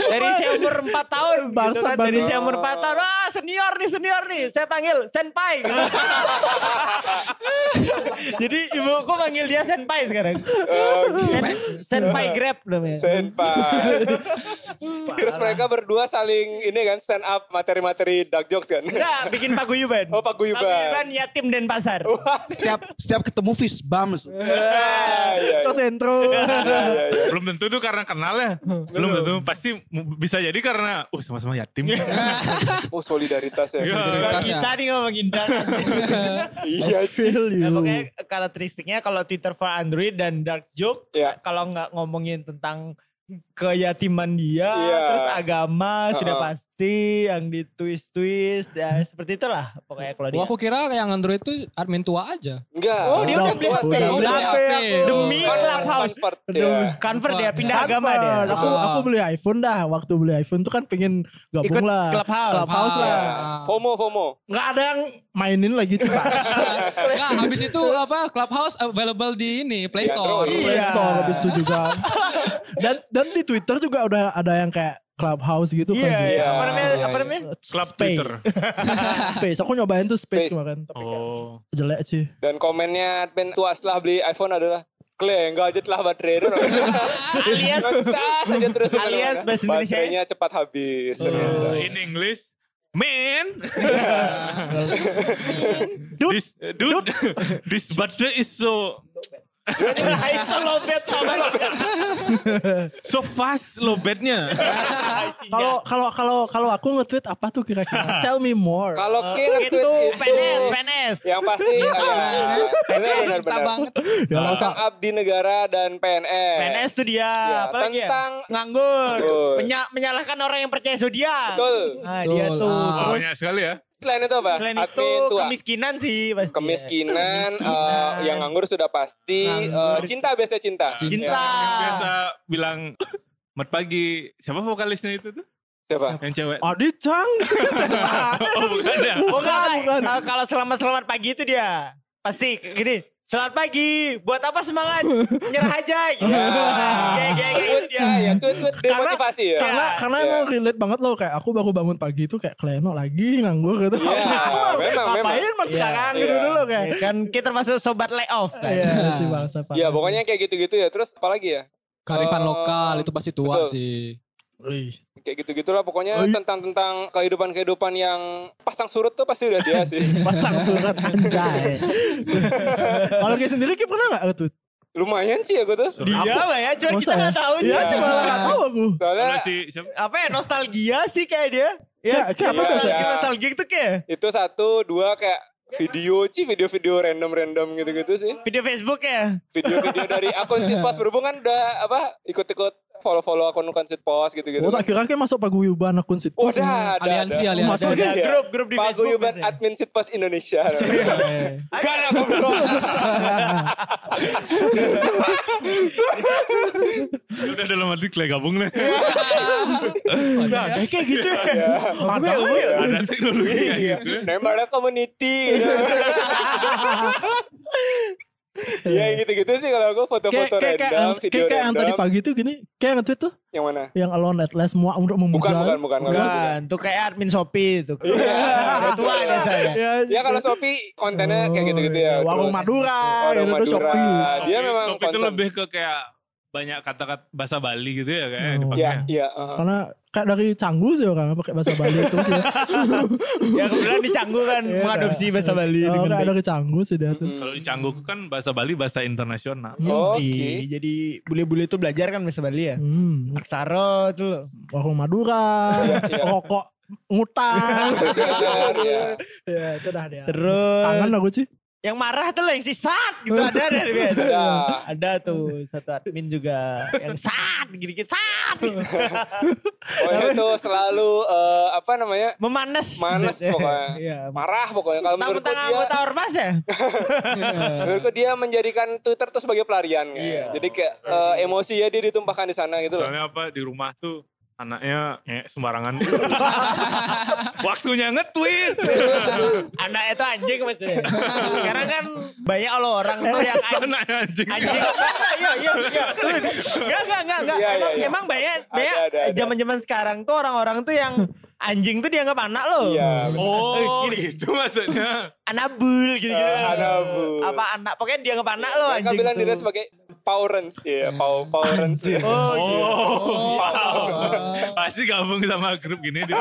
Dari saya umur 4 tahun gitu
Bangsat
kan. Dari
banget.
saya umur 4 tahun. Wah senior nih senior nih. Saya panggil senpai gitu. Jadi ibuku panggil dia senpai sekarang.
Eh,
Sen- senpai grab namanya.
senpai. Terus mereka berdua saling ini kan stand up materi-materi dark jokes kan.
Enggak, bikin paguyuban.
Oh, paguyuban.
Paguyuban yatim dan pasar.
Setiap setiap ketemu Fis bam.
Ah, iya,
Terus intro.
iya, iya, iya.
Belum tentu tuh karena kenal ya. Belum tentu. Pasti m- bisa jadi karena, uh sama-sama yatim.
Oh solidaritas ya.
Iya.
Kalau
Terasa.
kita nih ngomongin dark.
Iya sih.
Feel
Nah,
you.
pokoknya karakteristiknya kalau Twitter for Android dan dark joke,
Iya.
kalau nggak ngomongin tentang keyatiman dia,
Iya.
terus agama sudah
Uh-uh.
pasti, pasti, yang di twist-twist, ya seperti itulah pokoknya kalau
Wah,
dia.
aku kira yang Android itu admin tua aja.
Enggak.
Oh dia udah beli
Udah, udah,
HP,
udah
udah
beli
HP,
HP.
aku. demi
Oh.
Clubhouse.
Convert,
Aduh,
ya.
Convert dia,
Convert.
pindah agama dia.
Convert. Aku
Ah.
aku beli iPhone dah. Waktu beli iPhone tuh kan pengen gabung
Ikut
lah.
Clubhouse. Iya.
Clubhouse lah.
Ah.
Ya. FOMO, FOMO.
Nggak ada yang mainin lagi tuh.
Enggak, habis itu apa Clubhouse available di ini Play
Di
Store.
Android.
Play
Iya.
Store habis itu juga. dan dan di Twitter juga udah ada yang kayak Clubhouse gitu kan.
Iya, iya.
Iya,
Apa namanya?
iya,
Apa
iya.
namanya?
Club
Space.
Twitter.
Space. Aku nyobain tuh Space,
Space.
kemarin. Tapi kayak
Oh.
jelek sih.
Dan komennya admin tua setelah beli iPhone adalah Kle, enggak aja telah baterai itu.
Alias
Ngecas aja terus.
Alias
kemana-mana.
bahasa Indonesia.
Baterainya cepat habis. ternyata.
In English, man,
Dude.
this uh, dude, this battery is so
Raisa lobet sama
so fast lobetnya.
Kalau kalau kalau kalau aku nge-tweet apa tuh kira-kira? Tell me more.
Kalau Ki nge-tweet
Itu PNS,
itu,
PNS.
yang pasti oh, iya. benar benar
Bisa
benar.
banget.
ya, nggak usah.
Tentang abdi negara dan PNS.
PNS itu dia.
Ya,
apa lagi ya?
tentang
nganggur,
Nganggur.
Menya- menyalahkan orang yang percaya zodiak.
betul.
Nah, dia
Betul,
tuh
ah.
Oh,
terus
banyak sekali ya.
Selain itu apa?
selain itu
Admin tua.
kemiskinan sih pasti.
ah,
ya.
Kemiskinan, eh,
Kemiskinan.
yang nganggur sudah pasti.
Nganggur.
Eh, cinta biasa cinta.
Cinta.
Ya.
Yang biasa bilang mat pagi. Siapa vokalisnya itu tuh?
Siapa?
Yang cewek.
Adi Chang.
Oh, bukan ya.
Oh, enggak, enggak. Eh, kalau selamat-selamat pagi itu dia. Pasti gini, Selamat pagi, buat apa semangat? Nyerah aja. Gitu.
Ya.
Kayak- kayak- kayak
Tweet
gitu.
ya, ya tweet tweet demotivasi ya.
karena karena
Iya.
emang relate banget loh kayak aku baru bangun pagi itu kayak kleno lagi nganggur gitu.
Iya,
Aku mau
memang,
ngapain
memang.
man sekarang
Iya.
gitu dulu kayak.
Ya kan kita termasuk sobat layoff kan.
Iya, si bangsa Pak.
Ya pokoknya kayak gitu-gitu ya. Terus apalagi ya?
Karifan
Oh,
lokal itu pasti tua
betul.
sih.
Wih.
Kayak gitu-gitulah pokoknya
Oh, iya.
tentang tentang kehidupan-kehidupan yang pasang surut tuh pasti udah dia sih.
pasang surat anjay. Kalau kayak sendiri kayak pernah nggak tuh?
Lumayan sih ya gue tuh.
Dia
Dia apa ya? Cuman
Masa
kita
ya?
nggak tahu
Iya
aja.
sih malah nggak tahu aku.
Soalnya
si siapa?
Apa ya nostalgia sih kayak dia? Ya,
Kayak- kayak apa
Iya,
biasa?
iya.
nostalgia, nostalgia itu kayak
itu satu, dua kayak video sih, video-video random-random gitu-gitu sih.
video Facebook ya.
Video-video dari akun Sitpos berhubungan udah apa ikut-ikut follow-follow akun akun Sitpos gitu-gitu.
Oh tak kira kayak masuk paguyuban akun situ.
Gitu. Wadah, ada,
Aliansi,
ada. Oh,
aliansi.
Masuk. Oke.
Ada grup grup di Facebook.
Paguyuban
biasanya.
admin Sitpos Indonesia.
Iya.
Gak lah
Udah dalam hati Clay gabung nih.
Nah,
Iya.
kayak kayak gitu.
Iya.
ya.
Ada
Ada teknologi kayak gitu.
Nembak ada community. gitu. Ya gitu-gitu sih kalau gue
Kayak
foto-foto
kayak kayak
random, video
kayak- kayak yang tadi
random.
pagi tuh gini, kayak nge-tweet tuh
Yang mana?
yang alone at last semua untuk memuja.
Bukan, bukan, bukan. bukan.
Bukan, tuh kayak admin Shopee itu.
Iya.
Udah tua dia saya.
Ya kalau Shopee kontennya kayak gitu-gitu ya.
Iya, Oh, Warung
Terus-
Madura, gitu
Warung
tuh
Madura.
Shopee.
Dia
Shopee-
memang
Shopee itu
konsep.
lebih ke kayak banyak kata-kata bahasa Bali gitu ya kayak
Oh.
dipakai.
Iya, iya. heeh.
Karena kayak dari Canggu sih orang pakai bahasa Bali itu sih.
Ya kebetulan di Canggu kan
Iya,
mengadopsi
Kak.
bahasa Bali
Oh,
dengan
kayak
baik.
dari Canggu sih dia
Hmm.
tuh.
Kalau di Canggu kan bahasa Bali bahasa internasional.
Oke.
Yoi, Jadi bule-bule itu belajar kan bahasa Bali ya.
Hmm,
Aksara tuh loh.
warung Madura,
iya.
rokok ngutang.
Benar, ya.
ya, itu dah dia. Kangen
Terus
aku sih.
yang marah tuh loh yang si Sat gitu ada ada ada.
Ada.
Ada tuh satu admin juga yang Sat gigit Sat.
Pokoknya Oh, itu selalu eh, apa namanya?
Memanas.
Manes pokoknya.
Iya.
Marah pokoknya kalau menurutku
Tangan
dia
anggota ormas ya?
menurutku dia menjadikan Twitter itu sebagai pelarian kan. Jadi kayak eh, emosi ya dia ditumpahkan di sana gitu loh.
Soalnya apa di rumah tuh anaknya eh, sembarangan. Waktunya nge-tweet.
Anak itu anjing maksudnya. Sekarang kan banyak loh orang tuh yang anjing.
anaknya anjing.
Anjing. Iya, iya, iya. Enggak, enggak, enggak, enggak.
Iya, iya,
Emang,
iya.
emang banyak,
Ada,
banyak
ada, ada.
zaman-zaman sekarang tuh orang-orang tuh yang anjing tuh dianggap anak loh. Eh,
Iya. benar.
Oh, gitu maksudnya.
Anak bul gitu-gitu.
Eh, anak bul.
Apa anak, pokoknya dianggap anak loh
Mereka
anjing
bilang
tuh.
dirinya sebagai Powerens. Iya, pow Powerens. ya.
Oh, gitu.
Oh, paham. Pasti gabung sama grup gini di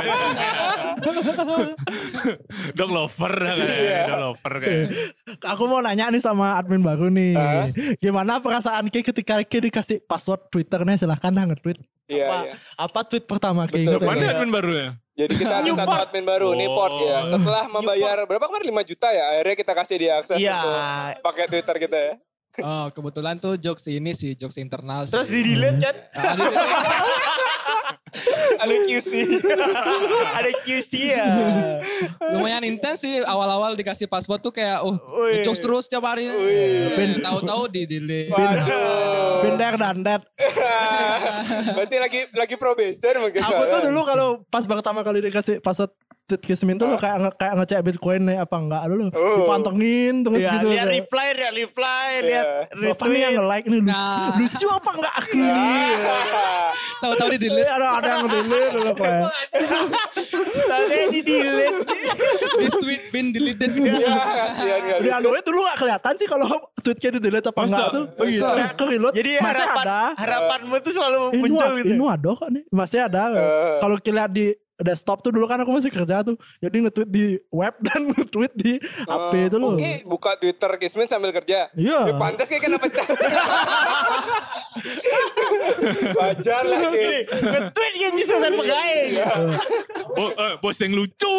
Dog lover ya,
Iya.
kayak, dog lover kayak.
Aku mau nanya nih sama admin baru nih.
Hah?
Gimana perasaan Ki ketika Ki dikasih password Twitternya silahkan dah nge-tweet.
Iya,
Apa,
iya.
apa tweet pertama Ki?
Betul,
gitu ya?
Mana
Iya.
admin baru ya?
Jadi kita ada satu
Newport.
admin baru,
Oh.
Newport ya. Setelah membayar berapa kemarin 5 juta ya, akhirnya kita kasih dia akses
Iya.
untuk pakai Twitter kita ya.
Oh, kebetulan tuh jokes ini sih, jokes internal sih.
Terus di delete kan?
Ah, di-
Ada QC.
Ada QC ya.
Lumayan intens sih awal-awal dikasih password tuh kayak oh
Wih.
ngejokes terus tiap hari.
Wih.
Tahu-tahu di delete.
Waduh.
Binder dan Dad.
Berarti lagi lagi probation mungkin.
Aku tuh dulu kalau pas pertama kali dikasih password Kismin tuh lo kayak nge- kayak ngecek Bitcoin nih apa enggak lu
Oh.
dipantengin terus
Ya,
gitu.
lihat
kayak,
reply, lihat reply,
Iya.
lihat
Apa nih yang
retweet.
nge-like nih lucu,
Nah.
lucu apa enggak aku nih?
Nah.
Tahu-tahu di delete.
Jadi ada ada yang delete dulu kayak.
Iya.
Tapi di delete sih.
This tweet been deleted.
Ya, kasihan kali.
Udah anu Android dulu gak kelihatan sih kalau tweetnya di delete apa enggak tuh. Oh, gitu. Kayak ke reload.
Jadi
masih
harapan,
ada.
harapanmu tuh selalu
Ini
muncul
ada-
gitu.
ini ada kok nih. Masih ada.
Eh.
Kalau kita lihat di desktop tuh dulu kan aku masih kerja tuh. Jadi nge-tweet di web dan nge-tweet di HP itu loh.
Oke, buka Twitter Kismin sambil kerja.
Iya.
Ya, pantas kayak kena pecat. Wajar lah, Ki.
Nge-tweet kan justru kan pegawai.
Bo- eh, bos yang lucu.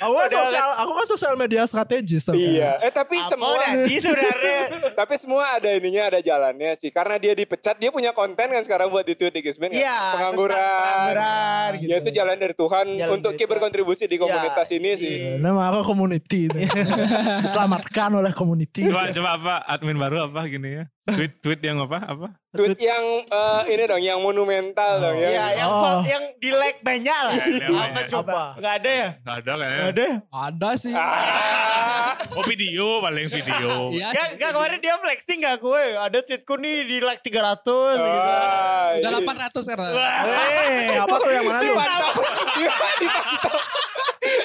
Aku kan sosial, aku kan sosial media strategis. kan.
Iya. Eh tapi
Apa
semua
nanti sebenarnya?
tapi semua ada ininya, ada jalannya sih. Karena dia dipecat, dia punya konten kan sekarang buat di tweet di Kismin. kan?
Iya. tentang
Pengangguran.
Pengangguran gitu.
Ya itu jalan dari Tuhan
Jalan
untuk
dari
kita berkontribusi di komunitas
Ya,
ini sih.
iya.
Nama aku community. Diselamatkan oleh community.
coba coba apa admin baru apa gini ya. Tweet tweet yang apa apa?
Tweet yang eh, ini dong, yang monumental dong. Yang,
Ya, yang
Oh.
fol- yang di like banyak lah.
Iya,
Apa
iya.
coba? Enggak ada ya?
Gak ada kayaknya.
Nggak ada.
Ada sih.
Ah.
Oh video paling video.
Iya.
Ya,
sih.
enggak kemarin dia flexing enggak gue. Ada tweetku nih di like 300 gitu.
Ah,
Udah
iya.
800 sekarang.
Eh, apa tuh yang mana tuh?
Dipantau. Dipantau.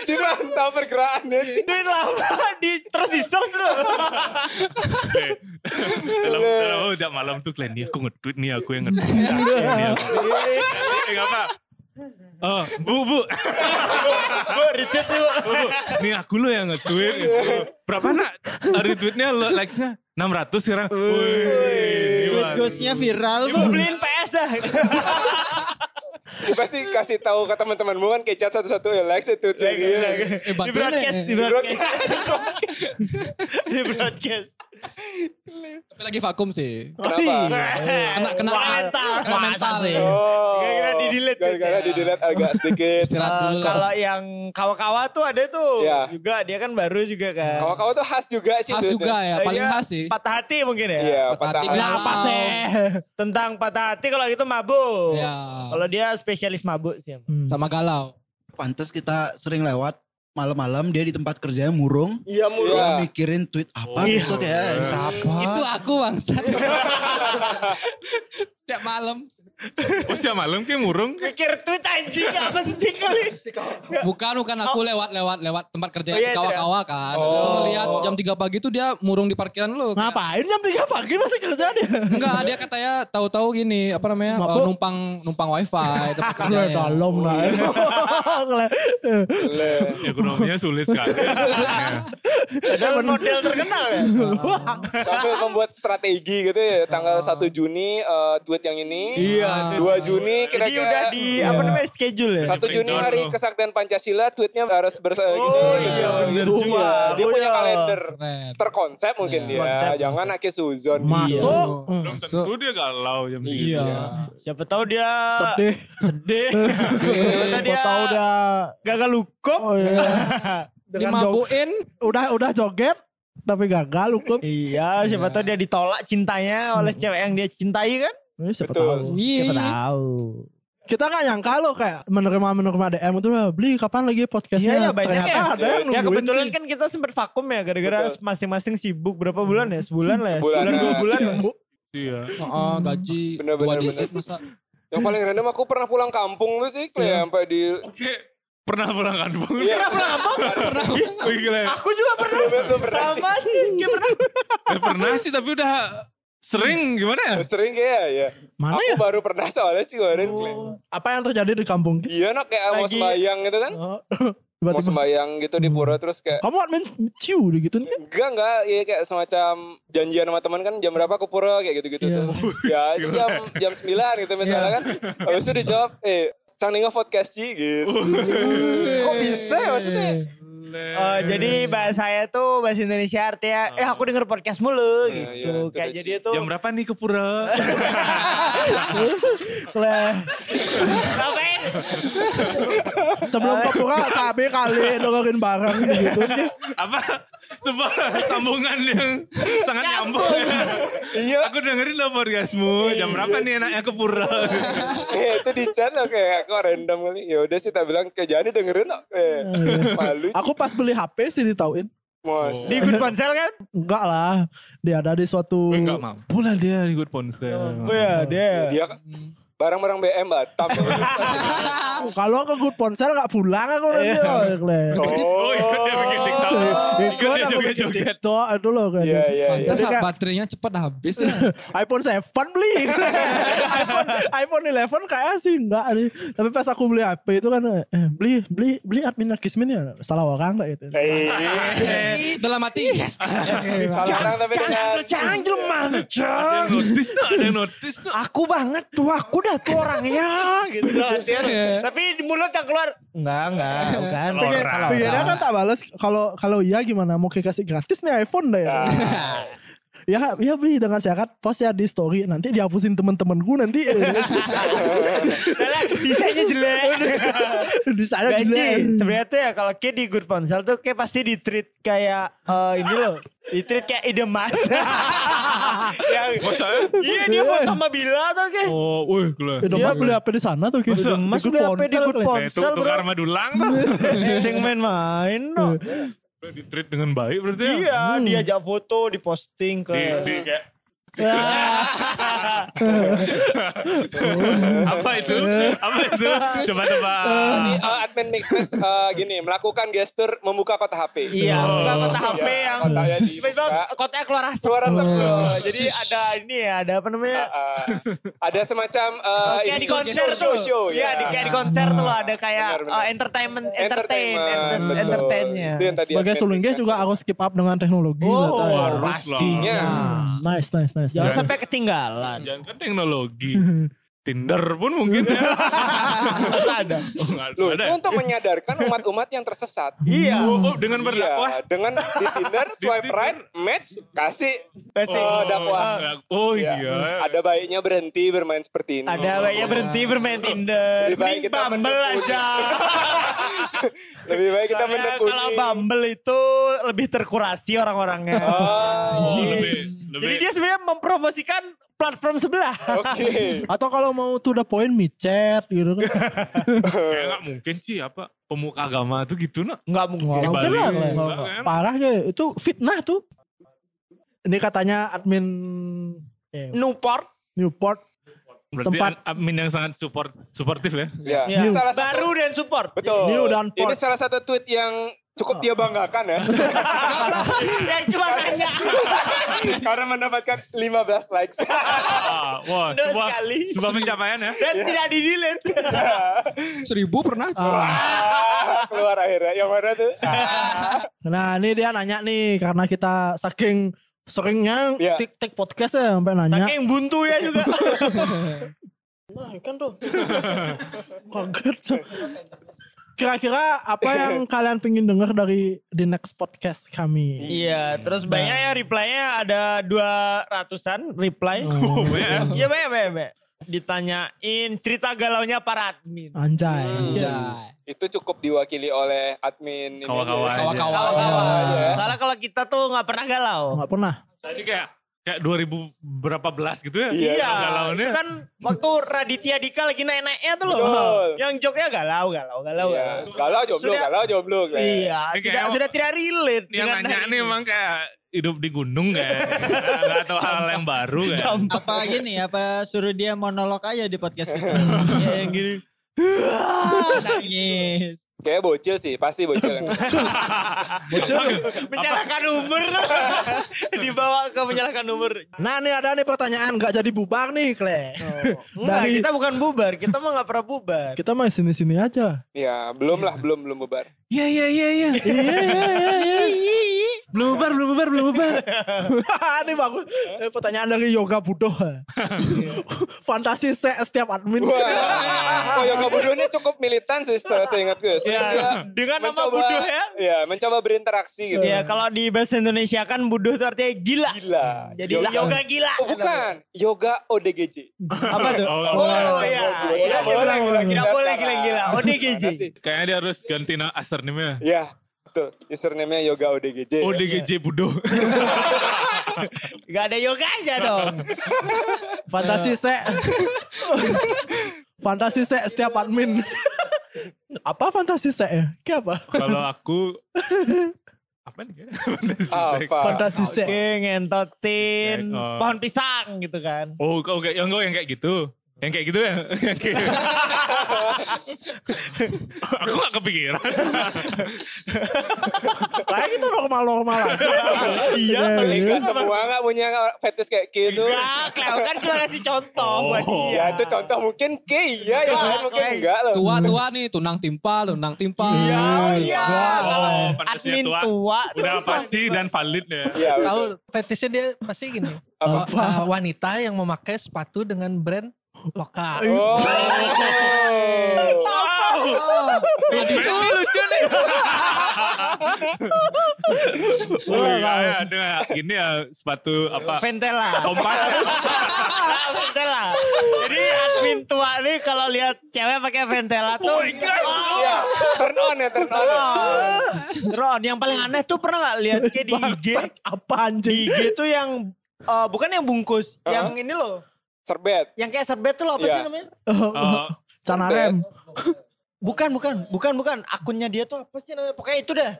Dipantau pergerakannya sih.
Tweet lama di terus di search dulu.
dalam dalam oh, tiap malam tuh kalian nih aku nge-tweet nih aku yang nge-tweet. Nih aku. Eh nggak apa. Oh, bu, bu,
Gue retweet tuh.
bu, bu. Nih aku lo yang nge-tweet gitu. Berapa nak retweetnya lo likes-nya? 600 sekarang. Wih.
Tweet
gila.
ghostnya viral
Ibu
tuh.
beliin PS dah.
Pasti kasih tahu ke teman-temanmu kan kayak chat satu-satu kan- ya like itu tuh.
Eh,
Di
bantuin
broadcast,
deh.
di broadcast. Di broadcast.
Tapi lagi vakum sih.
Ah, Kenapa?
Iya. Kena kena
Wah, mental.
kena mental sih.
Eh,
Oh.
Iya. Gara-gara di-delete
Gara-gara
tweetnya.
di delete agak sedikit.
Istirahat
Eh,
dulu
kalau
lah.
yang kawa-kawa tuh ada tuh
Iya.
juga dia kan baru juga kan.
Kawan-kawan tuh khas juga sih.
Khas
tweetnya.
juga ya, paling
Iya,
khas sih.
Patah hati mungkin ya.
Iya,
Patah
patah.
hati.
hati.
Nah,
Apa sih?
Tentang patah hati kalau gitu mabuk.
Ya.
Kalau dia spesialis mabuk sih.
Sama galau.
Pantas kita sering lewat malam-malam dia di tempat kerjanya murung.
Iya
Dia
Iya.
mikirin tweet apa
Oh,
besok ya.
Itu aku bangsat. Setiap malam.
Oh, siap malam kayak murung.
Mikir tweet anjing gak penting kali.
Bukan, bukan aku lewat-lewat lewat tempat kerja
Oh, iya, Oh.
si kawa-kawa kan. Habis itu ngeliat jam 3 pagi tuh dia murung di parkiran lu. Kayak,
Ngapain jam 3 pagi masih kerja dia?
Enggak, dia katanya tahu-tahu gini, apa namanya?
Mabuk.
eh, numpang numpang wifi tempat kerja.
Kalian dalam lah. Eh,
Le.
Ya, Ekonominya sulit sekali. Ya.
Padahal model terkenal ya.
Sambil membuat strategi gitu ya. Tanggal 1 Juni eh, tweet yang ini.
Ah.
Iya,
2 Juni
Jadi
kira-kira.
udah di apa namanya schedule ya.
Satu Juni
Breakdown
hari
dulu.
kesaktian Pancasila tweetnya harus bersama
Oh iya bener
gitu.
juga.
Dia
Oh,
punya
iya.
kalender
Keren.
terkonsep mungkin dia.
Konsep.
Jangan akhir suzon.
Masuk.
Belum tentu dia galau jam
Iya.
segitu.
Siapa tahu dia
Sedih.
sedih.
Eh,
Siapa
Gua tahu
tahu dia
udah
gagal hukum.
oh iya. Dengan jog-
Dimabuin.
udah udah joget tapi gagal hukum.
Iya, siapa tahu dia ditolak cintanya oleh cewek yang dia cintai kan?
Eh, Siapa tahu.
Betul.
Iya.
Tahu.
Kita nggak nyangka lo kayak menerima menerima DM itu lah beli kapan lagi podcastnya?
Iya, ya, banyak
Ternyata
ya.
ada yang
Ya
nungguin
kebetulan
sih.
kan kita sempat vakum ya gara-gara
Betul.
masing-masing sibuk berapa bulan ya? Sebulan lah ya.
Sebulan,
Sebulan dua
ya.
bulan. ya?
Iya.
Heeh, gaji
Bener,
dua
bener,
digit
Iya,
masa.
Yang paling random aku pernah pulang kampung tuh sih. Kle, Sampai di...
Oke. Pernah pulang kampung?
Iya.
Pernah.
Wih, gila ya.
Aku juga pernah.
Belum- belum pernah sih.
Sama sih, kayak pernah.
Ya, pernah sih tapi udah sering gimana ya?
Sering kayak ya.
Mana
Aku
ya?
baru pernah soalnya sih kemarin. Kle.
Apa yang terjadi di kampung? kita?
Iya nak kayak mau
Oh. Lagi-
sembayang gitu kan.
Oh,
Mau
Tiba-tiba
sembayang gitu di
Hmm.
pura terus kayak
kamu admin ciu gitu nih.
Enggak enggak, iya kayak semacam janjian sama teman kan jam berapa ke pura kayak gitu-gitu
Iya.
tuh. Ya, itu jam jam 9 gitu misalnya kan. Habis itu dijawab, "Eh, Cang Ninga podcast Ji," gitu. Kok bisa ya maksudnya?
boleh.
Oh, jadi bahasa saya tuh bahasa Indonesia artinya eh aku denger podcast mulu
Iya,
gitu.
iya, itu
Kayak
udah
jadi
cip.
itu
Jam berapa nih ke pura?
lah. Ngapain?
Sebelum
Iya.
ke pura KB kali dengerin bareng gitu.
Apa? Sebuah sambungan yang sangat nyambung.
Iya.
Aku dengerin lo podcastmu. Jam berapa nih enaknya ke pura?
Eh, itu di channel kayak kok random kali. Ya udah sih tak bilang kayak jadi dengerin kok.
Iya,
Eh, malu.
Aku pas beli HP sih ditauin.
Mos.
Di good ponsel kan?
Enggak lah. Dia ada di suatu
Gue nggak mampu lah dia di good ponsel.
Oh iya,
ya?
dia.
Dia kan- barang-barang BM Batam.
Kalau ke Good Ponsel gak pulang aku nanti.
Iya.
loh, Kle.
Oh, ikut dia bikin TikTok. Ikut
Ikut
dia
aku bikin
joget-joget.
TikTok, aduh loh. gitu. Kle.
Iya, iya, iya.
Pantes
Jadi
ah,
kayak-
baterainya cepat habis ya.
iPhone 7 beli. iPhone iPhone 11 kayak sih enggak nih. Tapi pas aku beli HP itu kan eh, beli beli beli adminnya Kismin ya salah orang enggak gitu.
Eh,
Eh, Dalam hati yes. Oke, Bang.
salah orang tapi dengan
Canggel mana,
Ada yang notice tuh, ada yang notice tuh.
Aku banget tuh, aku dah tuh orangnya gitu. Tapi di mulut yang keluar enggak, enggak, bukan.
Salah orang.
Salah orang.
Pikirnya kan tak balas kalau kalau iya gimana mau kasih gratis nih iPhone dah ya. Ya, ya beli dengan syarat post ya di story nanti dihapusin teman-temanku nanti
Salah, desainnya jelek.
di saya
Gaji
gila.
sebenarnya tuh ya kalau kayak di good ponsel tuh kayak pasti di treat kayak eh, ini loh di treat kayak ide mas yang
Masa ya?
iya dia foto sama Bila tuh kayak
Oh, wih, gila. Eh,
Udah
Iya,
mas beli HP di sana tuh kayak
Masa?
di- di
mas
Good
udah apa di
Ponsel,
good
Kle.
Eh, itu
ponsel
tukar
bro
sama dulang tuh.
Oh, iya. sing main-main no.
Di treat dengan baik berarti ya.
iya dia ajak foto di posting ke
Di, di kayak apa itu? Apa itu? Coba tebak.
Ini, eh, admin mix mix eh, gini melakukan gestur membuka kotak HP.
iya
Oh.
bukan kota HP
Iya,
yang
kotaknya
tiba-tiba
dibuka.
kotaknya keluar asap
Suara sebelum. Jadi
Eh, jadi ada ini ya ada apa namanya
eh, ada semacam eh,
kayak di
ini-
konser
show,
tuh.
show,
Iya, di kayak di konser tuh loh ada kayak
ya. Benar, benar.
eh, entertainment entertain
entertainment,
enter-
betul.
entertainnya.
Itu yang tadi
Sebagai
admin
sulingnya
mix-nya.
juga harus keep up dengan teknologi. lah,
Oh,
Tay.
harus lah.
pastinya.
Nice, nice, nice.
Jangan
nice.
sampai ketinggalan.
Jangan kan teknologi. Tinder pun mungkin ya.
ada.
Oh, nggak
Loh,
ada.
itu untuk menyadarkan umat-umat yang tersesat.
Iya.
Oh, oh, dengan
Iya,
berdakwah.
dengan di Tinder swipe right, match, kasih
Kasih.
eh, dakwah.
Oh
Iya.
iya.
Ada baiknya berhenti bermain seperti ini.
Ada baiknya berhenti bermain Tinder.
Lebih baik
Mending
Oh. kita
Bumble
menekuni.
aja.
Lebih baik kita
Soalnya
menekuni.
kalau Bumble itu lebih terkurasi orang-orangnya.
Oh,
Oh, lebih, lebih.
Jadi dia sebenarnya mempromosikan platform sebelah.
Oke.
Atau kalau mau to the point micet gitu kan.
kayak nggak mungkin sih apa pemuka agama tuh gitu nak.
Enggak
Nggak
mungkin.
mungkin
Bali.
lah.
Nggak
Kle.
kan?
Parah ya. Itu fitnah tuh. Ini katanya admin eh,
Iya. Newport.
Newport.
Berarti
Sempat.
admin yang sangat support suportif ya.
Ya.
Ya.
Ini salah satu.
Baru dan support.
Betul.
New dan
Ini
Port.
salah satu tweet yang
Oh.
cukup dia banggakan ya.
Yang cuma nanya.
Karena mendapatkan 15 likes.
Ah, wah,
Bener
sebuah,
sekali.
sebuah pencapaian ya.
Dan tidak di delete.
Seribu pernah.
Ah, Keluar akhirnya. Yang mana tuh? Ah.
Nah ini dia nanya nih. Karena kita saking seringnya
Iya.
tik tik podcast ya sampai nanya.
Saking buntu ya juga.
Kaget. Kira-kira apa yang kalian pengen dengar dari the next podcast kami?
Iya, terus banyak ya reply-nya ada 200-an reply. Iya banyak, banyak, banyak. Ditanyain cerita galaunya para admin.
Oh, Anjay.
Hmm. Anjay.
Itu cukup diwakili oleh admin. ini. Iya.
Kawan-kawan.
Kawa-kawa.
Kawan-kawan ya.
Soalnya kalau kita tuh nggak pernah galau.
Enggak pernah.
Tadi kayak kayak 2000 berapa belas gitu ya.
Iya.
Iya,
Galauannya.
itu kan waktu Raditya Dika lagi naik-naiknya tuh loh.
Betul.
Yang joknya galau, galau, galau,
Iya.
galau.
Galau jomblo,
Sudah-
galau jomblo. Glenn.
Iya,
Ini
tidak,
kayak-
sudah tidak relate.
Yang
dengan
nanya
hari
nih
ini.
emang kayak hidup di gunung kayak. Gak tau hal yang baru kayak.
Sampah.
apa gini apa suruh dia monolog aja di podcast kita
Iya, yang gini.
nangis
Kayaknya bocil sih, pasti bocil.
Menyalahkan umur. Dibawa ke menyalahkan umur.
Nah ini ada nih pertanyaan nggak jadi bubar nih Kle.
Oh. Enggak,
Dari-
kita bukan bubar. Kita mah nggak pernah bubar.
Kita mah sini-sini aja.
Iya, ya, belum lah, belum belum bubar.
Iya iya iya iya.
Iya iya iya.
Belum bubar, belum bubar, belum bubar.
Ini bagus. Eh, Pertanyaan dari Yoga Budo. Fantasi se- setiap admin.
Wah, oh, Yoga Budo ini cukup militan sih se- seingat gue.
Ya, dengan nama Budo ya.
Iya, mencoba berinteraksi gitu.
Iya, kalau di bahasa Indonesia kan buduh itu artinya gila.
Gila.
Jadi yoga gila.
Oh, bukan, yoga ODGJ.
Apa tuh?
Oh,
Oh, iya.
Tidak boleh gila-gila.
Tidak boleh
sekarang.
gila-gila. ODGJ.
Gimana sih?
Kayaknya dia harus ganti nama ya. asername-nya.
Iya, betul. Username-nya Yoga ODGJ. ya.
iya.
ODGJ Budo.
Gak ada yoga aja dong.
Fantasi se Fantasi se setiap admin. apa fantasi se? Kayak apa?
Kalau aku apa nih? ya?
Apa?
Fantasi se.
Oke, ngentotin
Sek, oh.
pohon pisang gitu kan.
Oh, kau kayak yang kau yang kayak gitu. Yang kayak gitu ya. Yang kayak gitu. aku gak kepikiran.
Kayak gitu normal-normal aja.
Iya,
Tapi nggak semua nggak punya fetish kayak gitu.
Enggak, Cleo kan cuma ngasih contoh buat
Oh.
dia.
Ya itu contoh mungkin ke iya, yang lain mungkin
kayak-
enggak loh.
Tua-tua nih, tunang timpal, tunang timpal.
Iya,
Ya,
iya.
Oh, pantasnya
Admin
tua.
tua. tuh
Udah
cuma-
pasti dan valid ya.
Iya,
Tahu fetishnya dia pasti gini.
Apa?
Eh, eh, wanita yang memakai sepatu dengan brand lokal.
Oh.
Itu lucu nih. Wah, kayak ada gini ya sepatu apa?
Ventela.
Kompas ya.
Ventela. Jadi admin tua nih kalau lihat cewek pakai Ventela tuh.
Oh my God.
Iya, turn on ya, turn on. ya.
Ron. Ron, yang paling aneh tuh pernah nggak lihat dia di IG?
apa
Di
anjing?
IG tuh yang eh, bukan yang bungkus,
Hah?
yang ini loh,
Serbet.
yang kayak serbet tuh loh apa
Iya.
sih namanya?
Oh,
Cana rem.
Bukan, bukan, bukan, bukan. Akunnya dia tuh apa sih namanya? Pokoknya itu dah.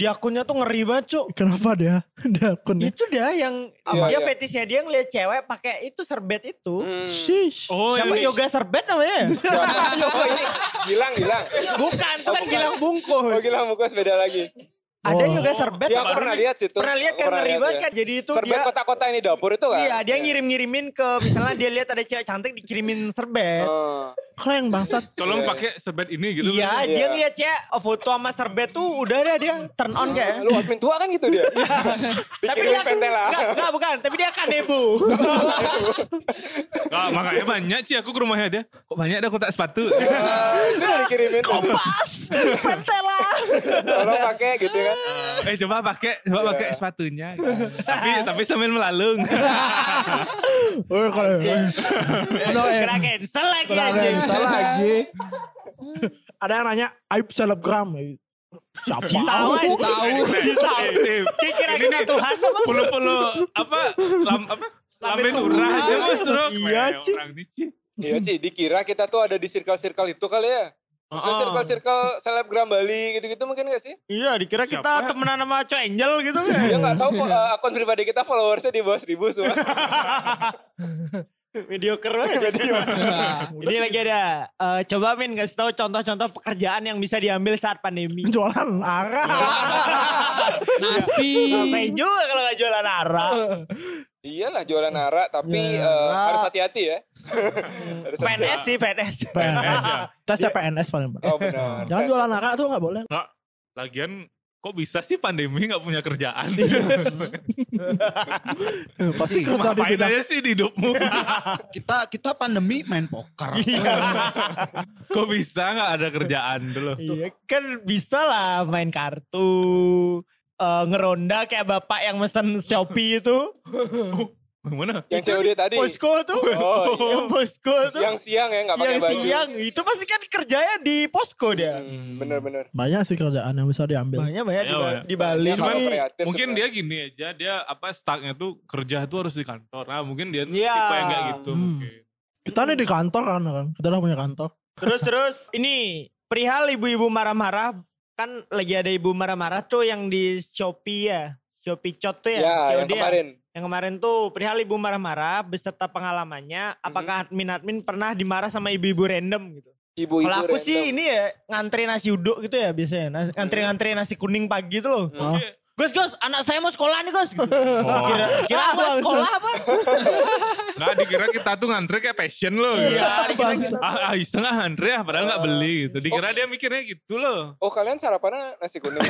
Di akunnya tuh ngeri banget, Cuk.
iya. Kenapa dia? Dia akunnya.
Itu dah yang
Apa?
dia
Iya.
fetishnya dia ngeliat cewek pakai itu serbet itu.
Hmm.
Sheesh.
oh
Siapa ya?
ini.
yoga serbet namanya?
Siapa? ini iya. Gilang, Gilang.
bukan, itu kan
bukan.
gilang
Oh,
bungkus.
Gilang Mukas beda lagi.
Ada
Oh.
yoga serbet.
Iya,
apa?
aku pernah lihat situ.
Pernah lihat
Aku
kan ngeri
lihat,
banget
iya.
kan. Jadi itu
Serbet
dia
kota-kota ini dapur itu kan?
Iya, dia ngirim-ngirimin ke misalnya dia lihat ada cewek cantik dikirimin serbet.
Oh.
Keren bangsat.
Tolong
Iya.
pakai sebet ini gitu.
Iya,
Iya.
dia ngeliat cewek oh, foto sama serbet tuh udah ada dia turn on kayak.
Lu admin tua kan gitu dia? Dikirimin pentela.
Enggak, enggak, bukan, tapi dia kanebo.
Oh,
Ah, makanya banyak sih aku ke rumahnya dia. Kok banyak ada kotak sepatu?
Ah, Itu yang dikirimin. Kompas, pentela. Tolong pakai gitu kan.
eh coba pakai, coba
Iya.
pakai sepatunya. tapi tapi sambil melalung.
Eh kalau
Kena cancel lagi aja.
bisa lagi. Iya, Ada yang nanya aib selebgram. Siapa?
Tahu aja.
Tahu.
Eh, eh,
Dia gitu.
ini
kira-kira
nih,
Tuhan apa?
Puluh-puluh apa? Lam, apa? Lambe turah aja bos bro.
Iya, Ci.
Orang ini Ci.
Iya Ci, dikira kita tuh ada di circle-circle itu kali ya. Maksudnya
Oh.
circle-circle selebgram Bali gitu-gitu mungkin gak sih?
Iya, dikira kita
Siapa?
temenan sama cowok angel gitu kan.
Ya gak tahu kok eh, akun pribadi kita followersnya di bawah seribu semua.
Mediocre banget jadi. Ini lagi ada eh, coba Min kasih tahu contoh-contoh pekerjaan yang bisa diambil saat pandemi.
Jualan arah.
Nah, Nasi.
Sampai juga kalau gak jualan arah.
Eh, Iyalah jualan arak tapi eh, harus hati-hati ya. harus hati-hati.
PNS sih, PNS.
PNS ya.
Tes PNS paling benar.
Oh benar.
Jangan jualan arah tuh nggak boleh.
Lagian kok bisa sih pandemi nggak punya kerjaan?
Pasti kerja di
Ngapain
bidang.
aja sih di hidupmu?
Kita kita pandemi main poker.
Iya.
kok bisa nggak ada kerjaan gitu dulu?
Iya kan bisa lah main kartu, eh, ngeronda kayak bapak yang mesen Shopee itu.
Gimana?
Yang COD tadi.
Posko tuh.
Oh, iya.
Yang posko tuh.
Siang-siang ya nggak pakai baju.
Siang-siang. Itu pasti kan kerjanya di posko dia.
Hmm, Bener-bener.
Banyak sih kerjaan yang bisa diambil.
Banyak banyak di,
Iya,
di Bali.
Dia orang kreatif
mungkin
sebenarnya.
dia gini aja dia apa stucknya tuh kerja tuh harus di kantor nah mungkin dia
Iya.
tipe yang kayak gitu
Hmm.
mungkin
Kita nih di kantor kan, kan. kita udah punya kantor.
Terus terus ini perihal ibu-ibu marah-marah kan lagi ada ibu marah-marah tuh yang di Shopee ya. Shopee Cot tuh ya.
Ya, yang
COD ya.
kemarin.
Yang kemarin tuh perihal ibu marah-marah beserta pengalamannya apakah admin-admin pernah dimarah sama ibu-ibu random gitu.
Ibu-ibu
Kalau aku
random.
sih ini ya ngantri nasi uduk gitu ya biasanya. Nas- Ngantri-ngantri nasi kuning pagi tuh loh.
Mungkin
Gus, Gus, anak saya mau sekolah nih, Gus. Kira, kira apa sekolah apa?
Nggak dikira kita tuh ngantri kayak passion loh. gitu.
Iya.
Ah, ah iseng ah ngantri ah padahal nggak beli gitu. Dikira dia mikirnya gitu loh.
Oh kalian sarapannya nasi kuning.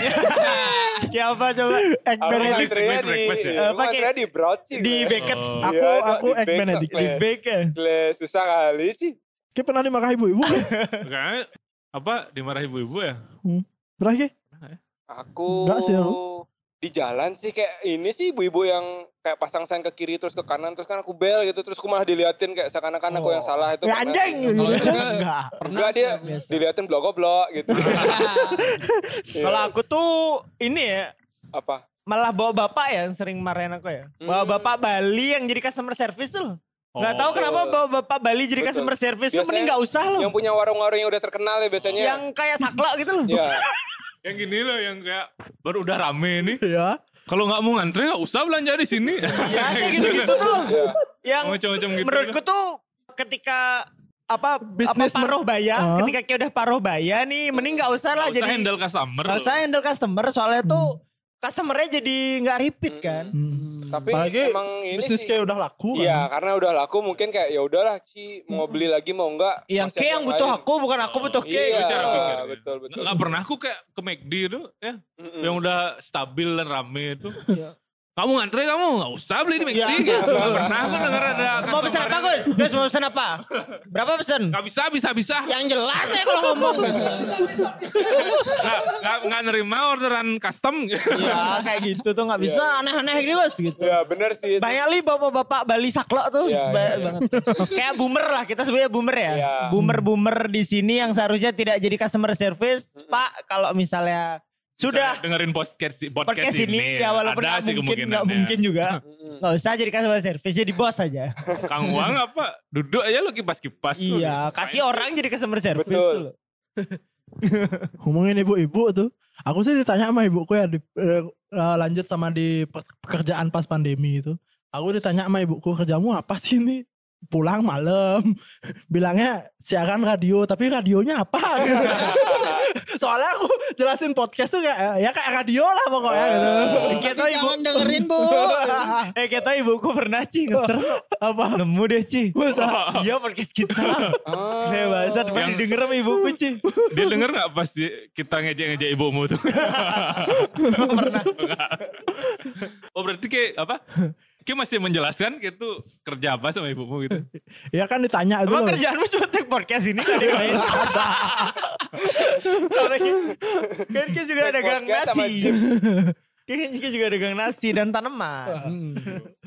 Siapa coba?
Egg
Aku
Benedict.
ngantrinya
breakfast,
di,
breakfast ya?
aku
Pakai-
ngantrinya di broci.
Di Beckett.
Iya,
Oh.
Aku aku egg Benedict.
Di Beckett.
susah kali sih.
Kayak pernah dimakan ibu-ibu.
Kayaknya apa dimarahi ibu-ibu ya?
Pernah kayak?
Aku
Enggak sih, aku.
di jalan sih kayak ini sih ibu-ibu yang kayak pasang sen ke kiri terus ke kanan terus kan aku bel gitu terus aku malah diliatin kayak seakan-akan aku yang salah itu.
Ya
karena-
anjing.
Kalau itu ke
Enggak.
pernah
Enggak
sih
dia
aku.
diliatin blok-blok gitu.
Kalau aku tuh ini ya,
Apa?
malah bawa bapak ya yang sering marahin aku ya. Bawa
Hmm.
bapak Bali yang jadi customer service tuh loh. Gak tahu
Oh.
kenapa bawa bapak Bali jadi
Betul.
customer service tuh
Biasanya
mending gak usah loh.
Yang punya warung-warung yang udah terkenal ya biasanya.
Yang kayak sakla gitu loh.
ya.
Yang gini loh yang kayak baru udah rame nih.
Ya.
Kalau nggak mau ngantri nggak usah belanja di sini.
Ya kayak gitu-gitu tuh loh.
ya.
Yang
Macam-macam gitu.
menurutku tuh ketika apa
Bisnis
bisnis
mer-
paruh baya,
Hah?
Ah.
ketika kayak udah paruh baya nih, mending gak usah lah
Nggak usah
jadi
handle customer.
Gak
loh.
usah handle customer soalnya tuh
Hmm.
customernya jadi nggak repeat kan.
Tapi
Apalagi
emang ini
Bisnis
sih.
kayak udah laku. kan.
Iya, karena udah laku mungkin kayak ya udahlah Ci, mau beli lagi mau enggak?
Yang
masih
K
ada
yang butuh
lain.
aku gitu. bukan aku butuh K.
Iya,
Itu cara pikir.
betul, betul.
Nggak pernah aku kayak ke McD itu ya.
Mm-mm.
Yang udah stabil dan rame itu.
Iya.
kamu ngantri kamu nggak usah beli di McD. gitu. Nggak pernah aku denger ada.
Mau pesan apa
customer yang-
Gus? Gus mau pesan apa? Berapa pesan?
Nggak bisa, bisa, bisa.
Yang jelas ya kalau ngomong.
Nggak, nggak, nggak nerima orderan custom.
ya kayak gitu tuh nggak bisa aneh-aneh gitu Gus gitu.
Ya benar sih. itu.
Banyak li bapak-bapak Bali saklo tuh
Iya,
ba-
iya, iya.
banget. Kayak boomer lah kita sebenarnya boomer ya.
Iya.
Boomer-boomer di sini yang seharusnya tidak jadi customer service, Pak, kalau misalnya sudah
Saya dengerin podcast podcast,
podcast ini ya walaupun nggak
ada sih
mungkin
kemungkinan
nggak mungkin juga
Mm-mm.
nggak usah jadi customer service jadi bos aja
Kang Wang apa duduk aja lo kipas kipas
iya kasih orang jadi customer service dulu.
Betul.
ngomongin ibu-ibu tuh aku sih ditanya sama ibuku ya di, eh, eh, lanjut sama di pe- pekerjaan pas pandemi itu aku ditanya sama ibuku kerjamu apa sih ini pulang malam bilangnya siaran radio tapi radionya apa gitu. soalnya aku jelasin podcast tuh kayak eh, ya kayak radio lah pokoknya gitu
Oh.
Tapi jangan dengerin bu.
Iya.
eh kata ibuku pernah Ci ngeser
apa
Oh. nemu deh Ci
Masa?
iya podcast kita
Ah.
Kayak bahasa pernah
Yang-
denger sama ibuku Ci
dia denger nggak pas di- kita ngejek ngejek ibumu tuh pernah oh berarti kayak apa kayak masih menjelaskan kayak tuh kerja apa sama ibumu gitu
ya kan ditanya itu
emang
loh.
kerjaanmu cuma take podcast ini kan lain kan kita juga
Take
dagang
podcast sama
nasi
gym.
kan kita juga dagang nasi dan tanaman
Hmm.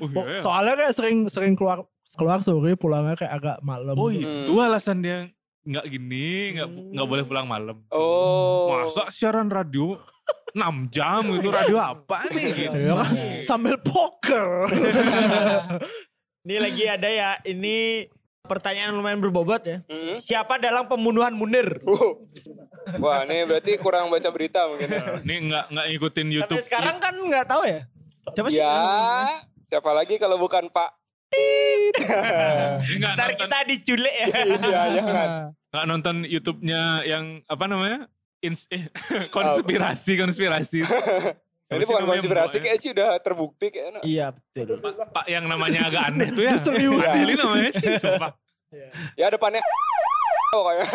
oh,
Bo-
iya.
soalnya kayak sering sering keluar keluar sore pulangnya kayak agak malam
oh
gitu.
itu
Hmm.
alasan dia nggak gini nggak nggak boleh pulang malam
Oh.
masa siaran radio 6 jam itu radio apa nih gitu
Ya kan? sambil poker
ini lagi ada ya ini pertanyaan lumayan berbobot ya
Mm-mm.
siapa dalam pembunuhan Munir
Wow. Wah, ini berarti kurang baca berita mungkin. ya.
ini nggak nggak ngikutin YouTube
Sampai sekarang kan nggak tahu ya. Coba sih.
ya, siapa lagi kalau bukan Pak?
Ini nggak
Ntar
nonton-
kita diculik ya.
Iya, jangan.
nggak nonton YouTube-nya yang apa namanya Ins eh, konspirasi konspirasi
Ini bukan konspirasi kayaknya sih udah terbukti kayaknya.
iya betul.
pak, pak yang namanya agak aneh tuh ya
Serius.
asli namanya sih sumpah
Ya depannya pokoknya.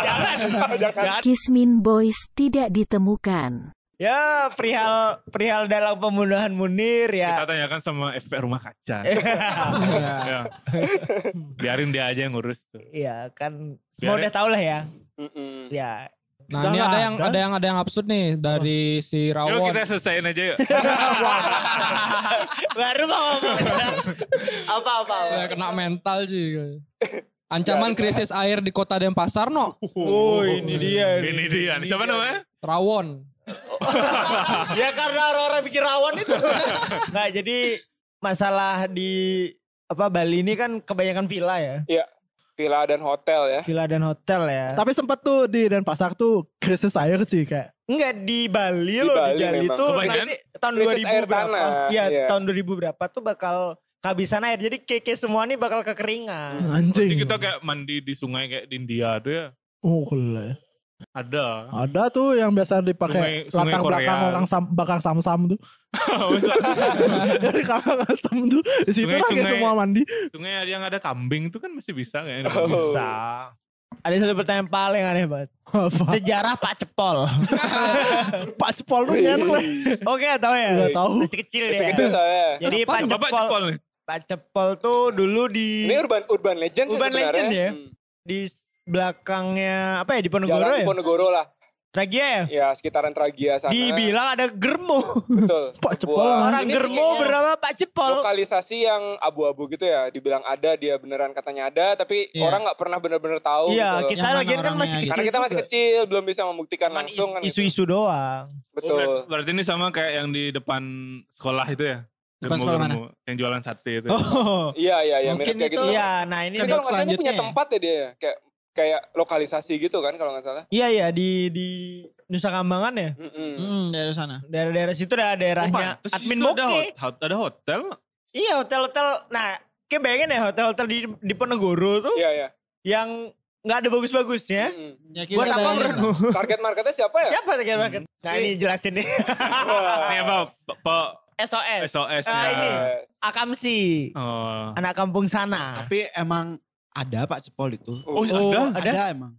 jangan. jangan.
Kismin Boys tidak ditemukan.
Ya perihal perihal dalam pembunuhan Munir
kita
ya. Eh.
tanyakan sama efek rumah kaca
Iya.
ya. biarin dia aja yang ngurus tuh
Iya kan. Semua
Biarin.
udah tau lah ya.
Mm-mm.
Ya.
Nah
Udah
ini
lah,
ada yang
kan?
ada yang ada yang absurd nih dari si
yuk kita
Rawon.
selesaiin aja yuk
Baru mau ngomong. apa apa. apa.
Saya kena mental sih. Ancaman krisis air di kota Denpasar no.
Oh ini dia.
ini dia nih. siapa namanya
Rawon.
ya karena orang-orang bikin rawan itu. nah jadi masalah di apa Bali ini kan kebanyakan villa ya.
Villa dan hotel ya.
Villa dan hotel ya.
Tapi sempat tuh di Denpasar tuh krisis air sih kayak
Enggak di Bali
Di
loh
Bali
di Bali
memang.
itu
Kebanyakan
nanti tahun
krisis
2000
air
berapa?
tanah,
Iya,
iya.
tahun 2000 berapa tuh bakal kehabisan air. Jadi keke semua nih bakal
Hmm.
kekeringan.
Hmm.
anjing.
Jadi kita kayak mandi di sungai kayak di India tuh ya
Oh, gila.
Ada.
Ada tuh yang biasa dipakai
Sungai- sungai
latar belakang
Korea.
orang sam, bakar sam-sam tuh.
Oh,
Dari kamar sam tuh di situ
Sungai-
lagi
sungai.
semua mandi.
Sungai ada yang ada kambing tuh kan masih bisa kan?
Bisa. Ada satu pertanyaan paling aneh banget.
Apa?
Sejarah Pak Cepol.
Pak Cepol tuh nyen
Iya.
lah.
Oke, tahu ya?
Gak tahu.
Masih kecil
Iya. Masih
ya.
kecil soalnya.
Jadi Pak
Bapak
Cepol,
cepol nih.
Pak Cepol tuh dulu di
Ini urban urban legend sih
Urban
sebenarnya.
legend ya?
Hmm.
di belakangnya apa ya di Ponegoro ya?
Jalan Diponegoro lah.
Tragia ya?
Ya sekitaran Tragia sana.
Dibilang ada germo.
Betul.
Pak
Sebuah-
Cepol lah.
Orang
Ini
germo
sih kayaknya
bernama Pak Cepol.
Lokalisasi yang abu-abu gitu ya. Dibilang ada, dia beneran katanya ada. Tapi
Iya.
orang nggak pernah bener-bener tahu
Iya,
gitu loh.
Yang
kita
mana
lagi kan
orangnya
masih
gitu.
kecil.
Karena kita masih
juga.
kecil, belum bisa membuktikan
Cuman
langsung kan. gitu.
isu-isu doang.
Oh,
Betul.
ber- Berarti ini sama kayak yang di depan sekolah itu ya?
Depan sekolah mana?
Germo-germo, Yang jualan sate itu.
Oh,
Iya, iya, iya.
Mungkin
mirip kayak
itu-
gitu.
Iya, nah ini
Tapi
Kan
kalau nggak salah dia
selanjutnya
punya
ya.
tempat ya dia. ya? Kayak kayak lokalisasi gitu kan kalau nggak salah.
iya iya di di Nusa Kambangan ya.
Mm-mm.
hmm, dari sana.
Daerah-daerah situ dah
Oh,
daerahnya
pantes
admin
itu ada,
bokeh.
hot- hot- ada hotel.
Iya, hotel-hotel. Nah, kayak bayangin ya hotel-hotel di di Ponegoro tuh
Iya, iya.
yang nggak ada bagus-bagusnya.
Mm-mm.
Ya, kita
Buat apa
bayangin lah.
menurutmu?
hmm. Target marketnya siapa ya?
Siapa yang banget? Nah, ini jelasin nih.
Wah.
Ini apa? Pak
SOS.
SOS
Ah, ini.
ya.
Yes.
Akamsi.
Oh.
Anak kampung sana.
Tapi emang ada Pak Cepol itu.
Oh, ada.
ada?
emang.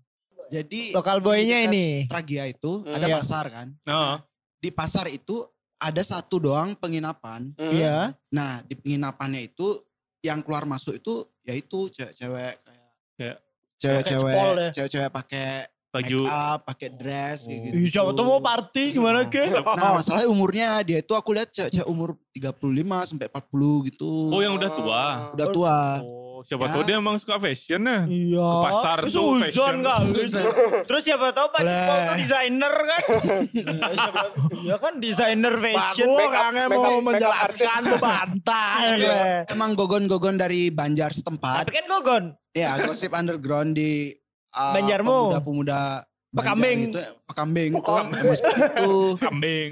Jadi
Lokal
Iya,
boynya
Jadi
ini.
Tragia itu
Hmm.
ada
Iya.
pasar kan.
Oh.
Di pasar itu ada satu doang penginapan.
Mm.
Iya.
Nah di penginapannya itu yang keluar masuk itu yaitu cewek-cewek kayak
Kayak-
cewek-cewek
cepol ya.
cewek-cewek pakai
Baju.
make up, pakai dress kayak gitu.
Ih, Siapa tuh Iya, mau party gimana ke?
Nah, masalahnya umurnya dia itu aku lihat cewek-cewek umur 35 sampai 40 gitu.
Oh, yang udah tua.
udah tua.
Oh, siapa
Ya.
tahu dia emang suka fashion ya.
Iya.
Ke pasar
Oh, Terus
tuh
Uzon
fashion.
nggak? Terus siapa tahu Pak
Boleh.
Jepol tuh desainer kan? Iya, siapa tahu. Iya kan desainer fashion.
Aku
Makeup-
orangnya
makeup-
mau
makeup
menjelaskan
artist.
membantah.
Iya.
gue.
Emang gogon-gogon dari Banjar
Tapi
setempat.
kan Gogon.
ya, gosip underground di uh,
Banjarmu.
Pemuda-pemuda Banjar
Pekambing.
Itu, pekambing itu emang seperti itu.
Kambing.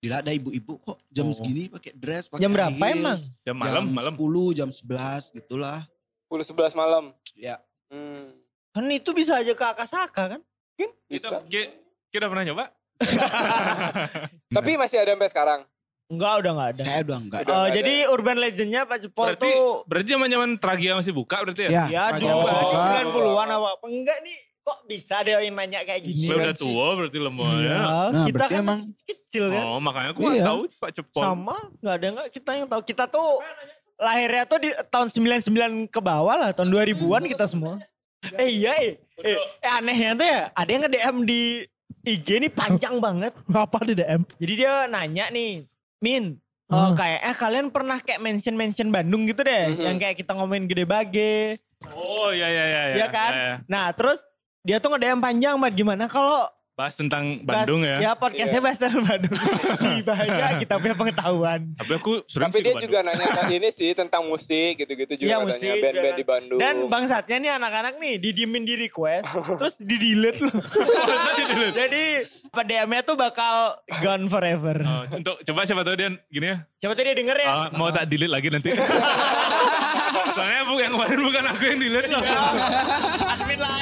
Gila ada ibu-ibu kok jam
Oh.
segini pakai dress, pakai
Jam berapa
heels.
emang?
Ya malam, malam.
jam 10, jam 11 gitulah.
10 11 malam.
Ya.
Hmm.
Kan itu bisa aja ke Akasaka kan?
Kita,
Bisa.
ki- kita pernah nyoba?
Tapi masih ada sampai sekarang.
Enggak udah enggak ada.
Kayak udah enggak.
Udah
Eh,
nggak
jadi urban legendnya Pak Jepol
Berarti
tuh
berarti zaman-zaman Tragia masih buka berarti ya?
Ya,
ya
Raja
dulu
Masih
Dubai.
Buka.
90-an apa apa enggak nih kok bisa deh yang nanya kayak gini.
Lah, udah tua berarti lemahnya.
Iya,
Nah,
kita
berarti
kan
emang-
masih kecil kan.
Oh, makanya aku nggak
Iya.
tahu Pak Cepol.
Sama, nggak ada nggak kita yang tahu. Kita tuh lahirnya tuh di tahun 99 ke bawah lah, tahun 2000-an kita semua. Eh iya, eh, eh, eh anehnya tuh ya, ada yang nge-DM di IG nih panjang banget.
Apa di DM?
Jadi dia nanya nih, Min, eh,
Ah.
kayaknya kalian pernah kayak mention-mention Bandung gitu deh,
Mm-hmm.
Mhm.
yang kayak kita ngomongin Gede Bage.
Oh, iya iya iya
Iya kan?
iya.
Nah, terus dia tuh nge-DM panjang banget gimana kalau
Bahas tentang
bahas-
Bandung ya.
Ya, podcastnya bahas tentang Bandung. si banyak kita punya pengetahuan.
Tapi aku sering
Tapi
sih ke
dia
Bandung.
juga nanya tentang ini sih tentang musik gitu-gitu
Iya,
juga
musik,
katanya band-band
iya.
di Bandung.
Dan bangsatnya nih anak-anak nih didiemin di request, terus di delete loh. Jadi apa DM-nya tuh bakal gone forever.
Oh, contoh, coba siapa tahu dia gini ya.
Siapa tuh dia denger ya?
Ah, mau tak delete lagi nanti. Soalnya bu, yang kemarin bukan aku yang kan delete loh.
Admin lah.